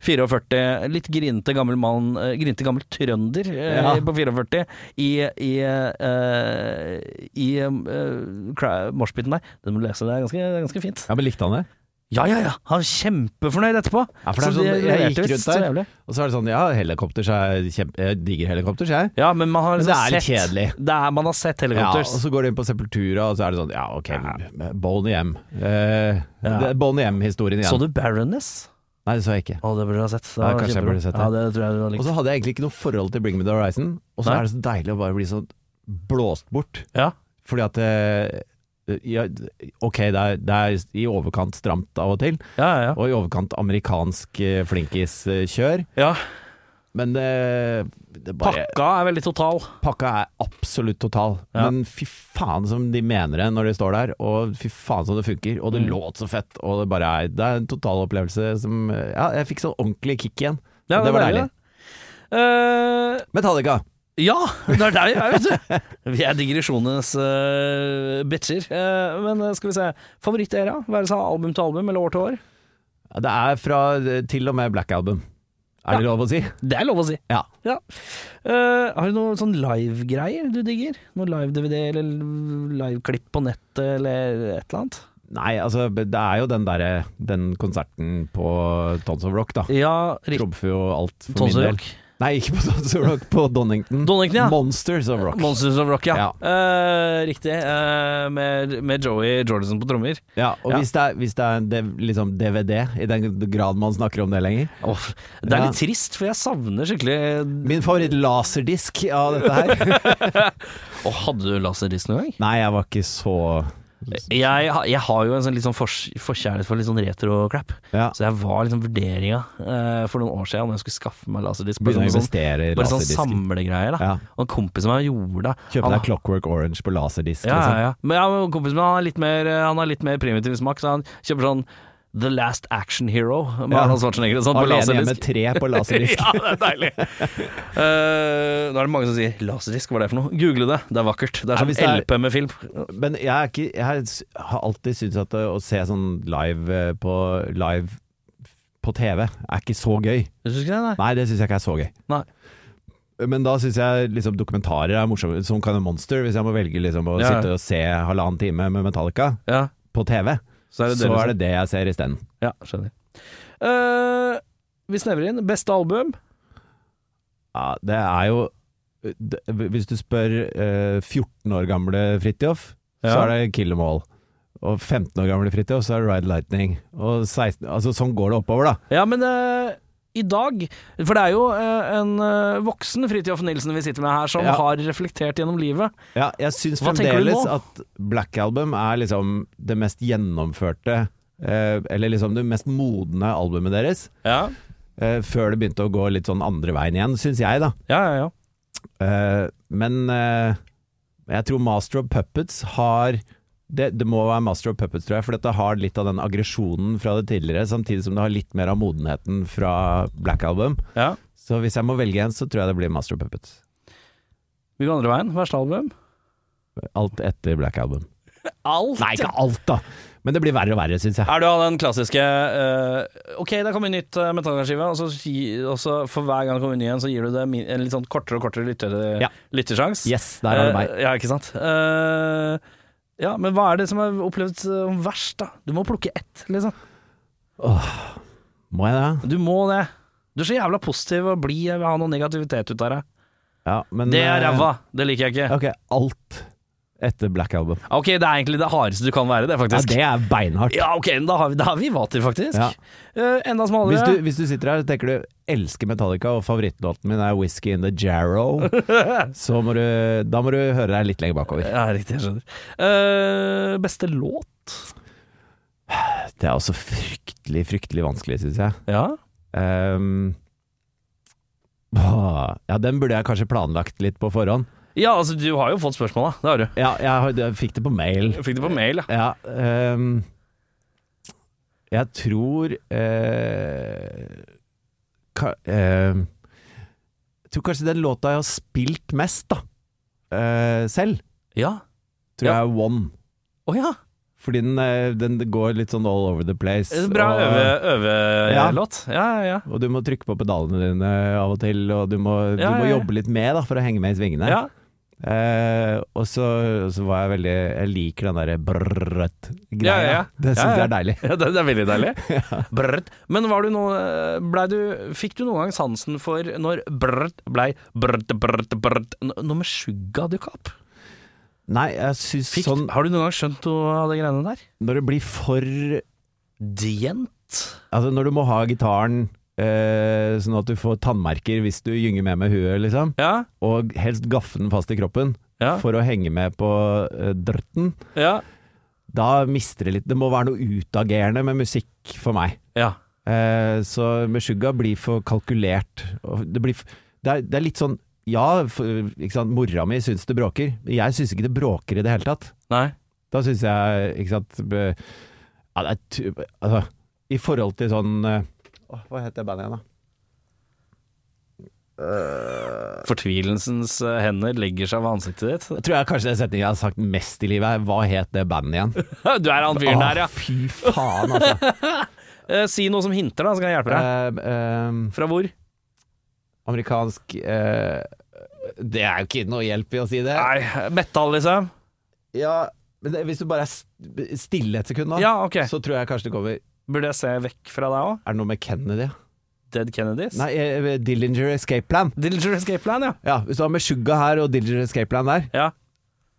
S1: 44, litt grinte gammel mann, eh, grinte gammel trønder eh,
S2: Ja.
S1: på 44, i, i, eh, i eh, cra- moshpiten der. Det må du lese, det er ganske, det er ganske fint.
S2: ja, men likte han det?
S1: Ja, ja, ja! Han er kjempefornøyd etterpå.
S2: Ja, for det er
S1: Så
S2: sånn,
S1: det
S2: jeg
S1: leverte
S2: gikk
S1: visst
S2: rundt
S1: så
S2: der,
S1: jævlig.
S2: og så er det sånn Ja, helikopter, så er jeg kjempe, jeg digger helikopter, sier jeg.
S1: Ja, men man har liksom
S2: Men det er litt
S1: sett-
S2: kjedelig.
S1: Det er, man har sett
S2: Ja, og
S1: helikopters.
S2: så går du inn på Sepultura, og så er det sånn Ja, ok, Boney M. Eh,
S1: Ja.
S2: det er Boney M-historien igjen.
S1: så du Baroness?
S2: Nei, det så jeg ikke.
S1: Å, det burde du ha sett. Det
S2: Ja,
S1: var
S2: kanskje jeg
S1: kjempebra.
S2: burde sett det.
S1: Ja, det tror jeg du har likt.
S2: Og så hadde jeg egentlig ikke noe forhold til Bring Me The Horizon, og så
S1: Nei.
S2: er det så deilig å bare bli sånn blåst bort.
S1: Ja.
S2: Fordi at eh, ja, Ok, det er, det er i overkant stramt av og til,
S1: Ja, ja, ja.
S2: og i overkant amerikansk eh, flinkiskjør,
S1: ja.
S2: men eh, det bare
S1: Pakka er veldig total.
S2: Pakka er absolutt total,
S1: Ja.
S2: men fy faen som de mener det når de står der, og fy faen som det funker, og det
S1: Mm.
S2: låt så fett, og det bare er Det er en total opplevelse som Ja, jeg fikk sånn ordentlig kick igjen.
S1: Ja,
S2: det var deilig.
S1: Eh,
S2: Metallica!
S1: ja, det er der vi er, vet du. Vi er digresjonenes eh, bitcher. Eh, men eh, skal vi se. Favorittera? Være seg album til album eller år til år?
S2: Ja, Det er fra eh, til og med Black Album. Er det lov å si?
S1: Det er lov å si.
S2: Ja.
S1: Eh, har du noen sånn live-greier du digger? Noe live-DVD eller live-klipp på nettet eller et eller annet?
S2: Nei, altså det er jo den derre Den konserten på Tons of Rock, da.
S1: Ja, riktig.
S2: Trumfer jo alt for
S1: Tons
S2: min
S1: of
S2: del.
S1: Rock.
S2: Nei, ikke på Tons of Rock, på Donington.
S1: Donington, ja.
S2: Monsters of Rock.
S1: Monsters of Rock, ja. Eh, riktig. eh, med, med Joey Jordison på trommer.
S2: ja, og
S1: Ja.
S2: hvis det er, hvis det er en dev- liksom DVD, i den grad man snakker om det lenger
S1: Åh, det er
S2: Ja.
S1: litt trist, for jeg savner skikkelig
S2: Min favoritt-laserdisk av dette her
S1: Å, Hadde du laserdisk noen gang?
S2: Nei, jeg var ikke så
S1: Jeg, ha- jeg har jo en sånn litt sånn fors- forkjærlighet for litt sånn retro-crap.
S2: ja.
S1: Så jeg var liksom vurderinga eh, for noen år siden om jeg skulle skaffe meg laserdisk. Bare
S2: Begynner å
S1: sånn, sånn,
S2: investere i
S1: bare sånn
S2: laserdisk.
S1: samlegreier. da
S2: Ja.
S1: Og en kompis av meg gjorde det.
S2: Kjøpe
S1: Han-
S2: deg Clockwork Orange på laserdisk.
S1: Ja, ja,
S2: liksom.
S1: ja. Men ja, men kompisen min han er litt mer, eh, han har litt mer primitiv smak, så han kjøper sånn The Last Action Hero med
S2: Ja.
S1: Arnold Schwarzenegger og sånn på
S2: Alene hjemme
S1: laserdisk.
S2: tre på laserdisk.
S1: ja, det er deilig. Eh, nå er det mange som sier 'laserdisk', hva er det for noe? Google det, det er vakkert. Det er
S2: Ja,
S1: som
S2: hvis det er-
S1: LP med film.
S2: Men jeg, er ikke, jeg s- har alltid syntes at å se sånn live eh, på, live på TV er ikke så gøy.
S1: Syns du ikke det? Nei.
S2: Nei, det syns jeg ikke er så gøy.
S1: Nei.
S2: Men da syns jeg liksom dokumentarer er morsomme. Som Kind of Monster, hvis jeg må velge liksom å
S1: Ja, ja.
S2: sitte og se halvannen time med Metallica
S1: Ja,
S2: på TV,
S1: så er det liksom? dere
S2: så
S1: som-
S2: er det det jeg ser isteden.
S1: Ja, skjønner. Eh, vi snevrer inn. Beste album?
S2: Ja, det er jo det- Hvis du spør eh, 14 år gamle Fridtjof, så
S1: Ja.
S2: er det Kill 'Em All. Og 15 år gamle Fridtjof, så er det Ride Lightning. Og 16, altså Sånn går det oppover, da.
S1: Ja, men eh, i dag For det er jo eh, en eh, voksen Fridtjof Nilsen vi sitter med her, som
S2: Ja.
S1: har reflektert gjennom livet.
S2: Ja, jeg syns
S1: Hva tenker du
S2: fremdeles
S1: nå?
S2: at Black Album er liksom det mest gjennomførte eh, Eller liksom det mest modne albumet deres.
S1: Ja,
S2: eh, før det begynte å gå litt sånn andre veien igjen, syns jeg, da.
S1: ja, ja. ja.
S2: Eh, men eh, jeg tror Master of Puppets har det, det må være Master of Puppets, tror jeg, for dette har litt av den aggresjonen fra det tidligere, samtidig som det har litt mer av modenheten fra Black Album.
S1: Ja.
S2: Så hvis jeg må velge en, så tror jeg det blir Master of Puppets.
S1: Vi går andre veien. Verste album?
S2: Alt etter Black Album.
S1: Alt.
S2: Nei, ikke alt, da! Men det blir verre og verre, syns jeg.
S1: Er du av den klassiske eh, Ok, det kommer nytt uh, metallskive, og, så gi- og så for hver gang det kommer ny en, så gir du det min- en litt sånn kortere og kortere lytter,
S2: Ja.
S1: lyttersjans.
S2: Yes, der har du meg.
S1: Eh, ja, ikke sant. Eh, ja, men hva er det som er opplevd som verst, da? Du må plukke ett, liksom.
S2: Må jeg det?
S1: Du må det. Du er så jævla positiv og blid. Jeg vil ha noe negativitet ut av deg.
S2: Ja, men
S1: Det er
S2: eh,
S1: ræva. Det liker jeg ikke.
S2: Ok, alt etter Black Album.
S1: Ok, det er egentlig det hardeste du kan være, det,
S2: Ja,
S1: faktisk.
S2: det er beinhardt.
S1: Ja, ok, men da har vi, da har vi vater, faktisk.
S2: Ja.
S1: Eh, enda
S2: Hvis
S1: smalere.
S2: du, hvis du sitter her og tenker du elsker Metallica, og favorittlåten min er 'Whisky in the Jarrow', så må du, da må du høre deg litt lenger bakover.
S1: Ja, riktig, jeg skjønner. Eh, beste låt?
S2: Det er også fryktelig, fryktelig vanskelig, syns jeg.
S1: Ja.
S2: Ehm, åh, ja, den burde jeg kanskje planlagt litt på forhånd.
S1: ja, altså, du har jo fått spørsmål, da. Det har du.
S2: Ja, jeg, har- jeg fikk det på mail.
S1: Jeg fikk det på mail, ja.
S2: Ja, ehm, jeg tror eh, ka, ehm, Jeg tror kanskje den låta jeg har spilt mest, da, eh, selv,
S1: Ja.
S2: tror
S1: Ja.
S2: jeg er One.
S1: Å ja.
S2: Fordi den, eh, den går litt sånn all over the place.
S1: Eh, Bra
S2: og, Ja.
S1: øvelåt. Ja. ja, ja,
S2: og du må trykke på pedalene dine av og til, og du må, du
S1: Ja,
S2: må
S1: ja, ja.
S2: jobbe litt med da, for å henge med i svingene.
S1: ja.
S2: Eh, og så, og så var jeg veldig Jeg liker den derre brrrrett-greia.
S1: Ja, ja, ja.
S2: Det syns
S1: Ja, ja.
S2: jeg er deilig.
S1: Ja, det, det er veldig deilig. Brrrt. Men var du noe, ble du, fikk du noen gang sansen for når brrrt blei brrrt, brrrt, brrrt n- Noe med skygga dukka opp?
S2: Nei, jeg syns
S1: Fikk,
S2: sånn
S1: Har du noen gang skjønt noe av de greiene der?
S2: Når det blir for
S1: Dient?
S2: Altså når du må ha gitaren eh, sånn at du får tannmerker hvis du gynger med med huet, liksom,
S1: Ja,
S2: og helst gaffe den fast i kroppen
S1: ja,
S2: for å henge med på eh, drøtten,
S1: ja.
S2: da mister det litt Det må være noe utagerende med musikk for meg.
S1: ja.
S2: Eh, så Meshuggah blir for kalkulert. Og Det, blir, f- det, er, det er litt sånn Ja, for, ikke sant? mora mi syns det bråker. Jeg syns ikke det bråker i det hele tatt.
S1: Nei.
S2: Da syns jeg Ikke sant be, ja, det er tu, altså, I forhold til sånn eh, åh, Hva heter bandet igjen, da?
S1: Fortvilelsens eh, hender legger seg ved ansiktet ditt.
S2: Jeg tror jeg kanskje det er setningen jeg har sagt mest i livet. er, Hva het det bandet igjen?
S1: Du er han fyren der,
S2: Åh,
S1: ja.
S2: Fy faen, altså.
S1: Eh, Si noe som hinter, da, så kan jeg hjelpe deg.
S2: Eh, eh,
S1: Fra hvor?
S2: amerikansk eh, Det er jo ikke noe hjelp i å si det.
S1: Nei, metal, liksom.
S2: Ja, Men det, hvis du bare er st- stille et sekund, da,
S1: Ja, ok.
S2: Ah. så tror jeg kanskje det kommer Er
S1: Burde jeg se vekk fra deg òg?
S2: det noe med Kennedy? ja?
S1: Dead Kennedys?
S2: Nei, eh, Dillinger Escape Plan.
S1: Dillinger Escape Plan, ja.
S2: Ja, Hvis du har med Suga her og Dillinger Escape Plan der
S1: ja.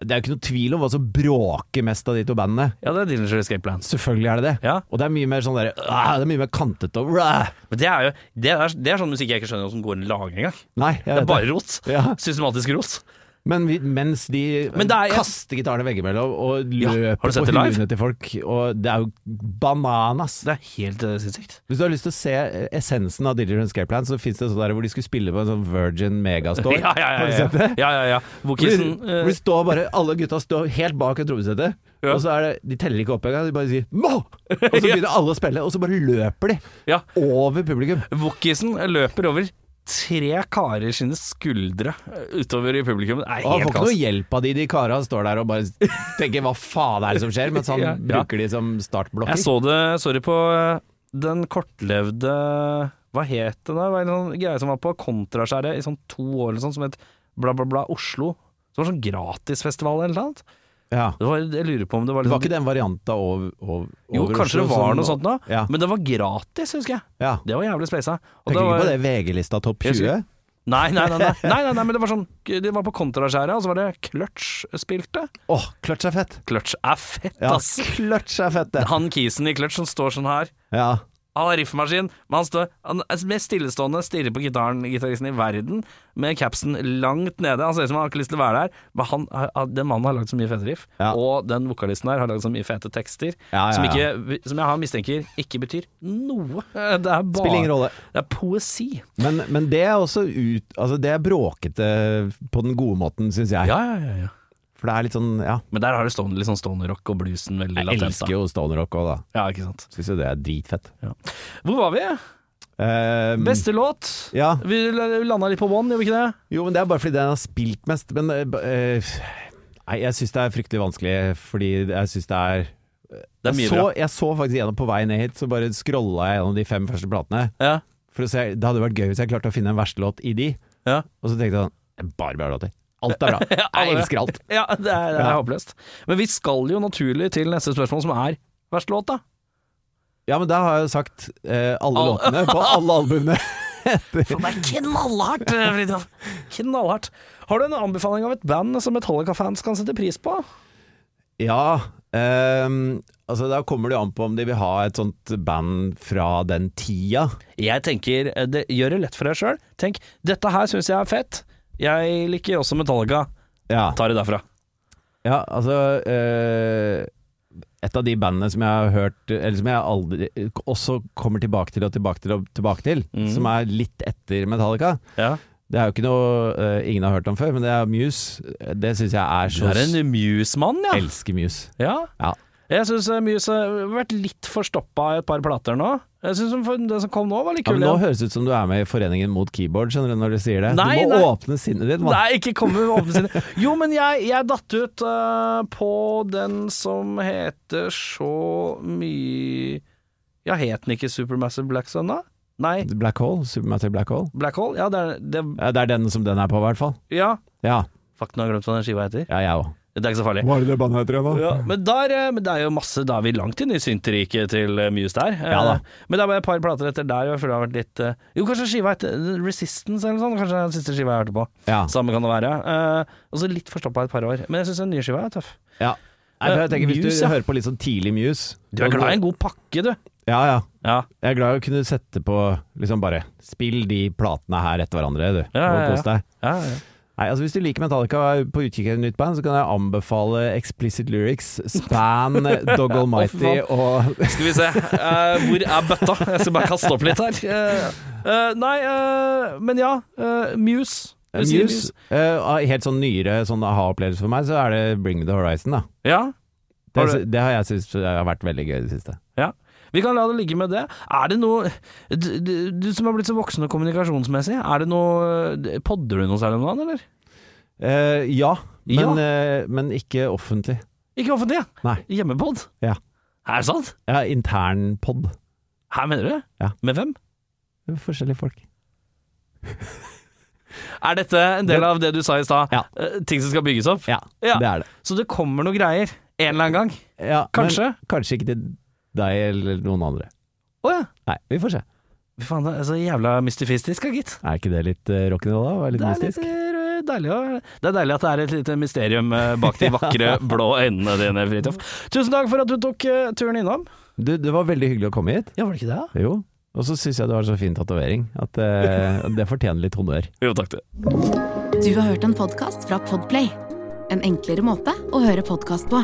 S2: Det er jo ikke noe tvil om hva som bråker mest av de to bandene.
S1: Ja, det er Dillinger Escape Plan.
S2: Selvfølgelig er det det.
S1: Ja.
S2: Og det er mye mer sånn der, ah, Det er mye mer kantete og ah.
S1: Men det er jo det er, det er sånn musikk jeg ikke skjønner hvordan går en lager engang.
S2: Nei,
S1: Det
S2: jeg
S1: er
S2: vet
S1: bare rot.
S2: det. Ja.
S1: Systematisk rot.
S2: Men vi, mens de
S1: Men det er-
S2: kaster gitarene veggimellom og
S1: Ja,
S2: løper
S1: har du sett
S2: på
S1: det live?
S2: hundene til folk, og det er jo bananas.
S1: Det er helt eh, sinnssykt.
S2: Hvis du har lyst til å se eh, essensen av Dillinger Escape Plan, så fins det sånn der hvor de skulle spille på en sånn Virgin Megastore.
S1: Ja, ja, ja,
S2: Har du
S1: ja.
S2: sett det?
S1: Ja, ja, ja. Vokisen
S2: Hvor de- hvor de står bare, Alle gutta står helt bak et trommesettet,
S1: eh, Ja.
S2: og så er det, de teller ikke opp engang. De bare sier 'må!', og så begynner alle å spille, og så bare løper de
S1: Ja.
S2: over publikum.
S1: Wokisen løper over tre karer sine skuldre eh, utover i publikum. Det er
S2: Ah, Og
S1: helt
S2: han får ikke noe
S1: kaos.
S2: hjelp av de de kara står der og bare tenker 'hva faen er det som skjer', mens han
S1: Ja.
S2: bruker de som startblokker.
S1: Jeg så det, sorry, på eh, den kortlevde Hva het det da? Det var en sånn greie som var på Kontraskjæret i sånn to år eller sånn, som het bla, bla, bla Oslo. Det var sånn gratisfestival eller noe annet.
S2: Ja.
S1: Det var, jeg lurer på om det var
S2: Det
S1: litt
S2: var ikke den varianta over, over
S1: Jo,
S2: over
S1: kanskje det
S2: Oslo
S1: var
S2: som-
S1: noe sånt da,
S2: Ja.
S1: men det var gratis, husker jeg.
S2: ja.
S1: Det var jævlig spleisa. Og
S2: Tenker
S1: da
S2: ikke
S1: var-
S2: på det VG-lista topp
S1: Jeg
S2: 20.
S1: Nei nei nei, nei, nei, nei, nei, men det var sånn Det var på Kontraskjæret, og så var det Clutch spilte.
S2: Åh, kløtsj er fett!
S1: Clutch er fett,
S2: Ja,
S1: ass.
S2: kløtsj er fett, det.
S1: Han kisen i Clutch som står sånn her.
S2: Ja.
S1: Han har riffmaskin, men han står Han er mest stillestående, stirrer på gitaren, gitaristen i verden, med capsen langt nede. Han ser ut som han har ikke lyst til å være der, men han, har- den mannen har lagd så mye fete riff,
S2: Ja.
S1: og den vokalisten her har lagd så mye fete tekster,
S2: Ja, ja,
S1: Som,
S2: ja.
S1: ikke, som jeg har mistenker ikke betyr noe. Det er bare
S2: Spiller ingen rolle.
S1: Det er poesi.
S2: Men, men det er også ut Altså, det er bråkete på den gode måten, syns jeg.
S1: Ja, ja, ja, ja.
S2: For det er litt sånn Ja.
S1: Men der har du stående, litt sånn stoner rock og bluesen veldig
S2: Jeg
S1: latent.
S2: elsker
S1: da.
S2: jo stoner rock òg, da.
S1: Ja, ikke sant.
S2: Syns jo det er dritfett.
S1: Hvor var vi?
S2: Eh,
S1: Beste låt?
S2: Mm. Ja.
S1: Vi landa litt på one, gjorde vi ikke det?
S2: Jo, men det er bare fordi den har spilt mest. Men eh, b- eh, Nei, jeg syns det er fryktelig vanskelig, fordi jeg syns det er
S1: Det er mye
S2: jeg så, jeg så faktisk gjennom på vei ned hit, så bare scrolla jeg gjennom de fem første platene.
S1: bra. Ja.
S2: For å se, Det hadde vært gøy hvis jeg klarte å finne en verste låt i de.
S1: Ja.
S2: Og så tenkte jeg sånn Bare bra låter. Alt er bra. Jeg
S1: alle.
S2: elsker alt.
S1: Ja, det er, det er
S2: Ja.
S1: håpløst. Men vi skal jo naturlig til neste spørsmål, som er verst låt, da.
S2: Ja, men da har jeg jo sagt eh, alle
S1: Alle.
S2: låtene på alle albumene.
S1: For det er knallhardt, eh, Fridtjof. Knallhardt. Har du en anbefaling av et band som Metallica-fans kan sette pris på?
S2: ja. ehm, altså, da kommer det jo an på om de vil ha et sånt band fra den tida.
S1: Jeg tenker, eh, det gjør det lett for deg sjøl. Tenk, dette her syns jeg er fett. Jeg liker også Metallica.
S2: Ja,
S1: Tar det derfra.
S2: ja altså eh, Et av de bandene som jeg har hørt Eller som jeg aldri også kommer tilbake til og tilbake til og tilbake til,
S1: Mm.
S2: som er litt etter Metallica.
S1: Ja.
S2: Det er jo ikke noe eh, ingen har hørt om før, men det er Muse. Det syns jeg er
S1: Du
S2: så
S1: er en Muse-mann, ja.
S2: Elsker Muse.
S1: ja.
S2: Ja.
S1: Jeg syns Muse har vært litt forstoppa i et par plater nå. Jeg syns den som kom nå, var litt
S2: Ja,
S1: kul.
S2: men nå
S1: igjen.
S2: høres det ut som du er med i Foreningen mot keyboard, skjønner du, når du sier det.
S1: Nei,
S2: du må
S1: nei.
S2: åpne sinnet ditt, mann.
S1: Nei, ikke komme med åpne sine. Jo, men jeg, jeg datt ut eh, på den som heter så mye Ja, het den ikke Supermassive Black Sun, da? Nei,
S2: Black Hole, Supermassive Black Hole.
S1: Black Hole? Ja, det er det,
S2: Ja, det er den som den er på, i hvert fall.
S1: Ja.
S2: Ja,
S1: Fuck, nå har jeg glemt hva den skiva heter.
S2: ja jeg òg.
S1: Det er ikke så farlig.
S2: Hva er det det bandet heter igjen,
S1: Ja, men, der, eh, men det er jo masse Da er vi langt inn i synteriket til eh, Muse der. Eh,
S2: Ja da.
S1: Men det er bare et par plater etter der. og Jeg føler det har vært litt eh, Jo, kanskje skiva heter eh, Resistance eller noe sånt. Kanskje det er den siste skiva jeg hørte på.
S2: Ja.
S1: Samme kan det være. Eh, og så litt forstoppa i et par år. Men jeg syns den nye skiva er tøff.
S2: ja. Nei, for jeg tenker, hvis
S1: Eh, Muse,
S2: du
S1: ja.
S2: hører på litt sånn tidlig Muse
S1: Du er
S2: og
S1: glad i en god pakke, du.
S2: Ja, ja.
S1: Ja.
S2: Jeg er glad i å kunne sette på liksom bare Spill de platene her etter hverandre, du.
S1: Ja, ja,
S2: Og kos deg.
S1: ja, ja.
S2: Nei, altså Hvis du liker Metallica og er på utkikk etter et nytt band, så kan jeg anbefale Explicit Lyrics, Span, Dog Almighty og
S1: Skal vi se. Eh, hvor er bøtta? Jeg skal bare kaste opp litt her. Eh, eh, nei, eh, men ja. eh, Muse. Du sier
S2: Muse. Eh, av helt sånn nyere sånn aha-opplevelse for meg, så er det Bring Me The Horizon, da.
S1: Ja.
S2: Det,
S1: Har du-
S2: det har jeg syntes har vært veldig gøy i det siste.
S1: ja. Vi kan la det ligge med det. Er det noe Du, du- du som har blitt så voksen og kommunikasjonsmessig, er det noe eh, Podder du noe særlig om dagen, eller?
S2: Eh, ja, men,
S1: Ja.
S2: eh, men ikke offentlig.
S1: Ikke offentlig, ja.
S2: Nei.
S1: Hjemmepod?
S2: Ja.
S1: Er det sant?
S2: Jeg har intern pod.
S1: Her mener du det?
S2: Ja.
S1: Med hvem?
S2: Forskjellige folk.
S1: Er dette en del av det du sa i stad?
S2: Ja.
S1: Eh, ting som skal bygges opp?
S2: Ja,
S1: Ja.
S2: det er det.
S1: Så det kommer noen greier En eller annen gang.
S2: Ja,
S1: Kanskje.
S2: Men kanskje ikke til deg eller noen andre.
S1: Å ja.
S2: Nei, vi får se.
S1: Fy faen, det er så jævla mystifistisk, da, gitt.
S2: Er ikke det litt uh, rock'n'roll, da? Være litt
S1: Det er litt
S2: mystisk?
S1: eh, deilig, å- det er deilig at det er et lite mysterium eh, bak de vakre blå øynene dine, Fridtjof. Tusen takk for at du tok eh, turen innom.
S2: Du, det var veldig hyggelig å komme hit.
S1: Ja, var det ikke det?
S2: Jo. Og så syns jeg du har så fin tatovering at eh, det fortjener litt honnør.
S1: Jo, takk du.
S4: Du har hørt en podkast fra Podplay. En enklere måte å høre podkast på.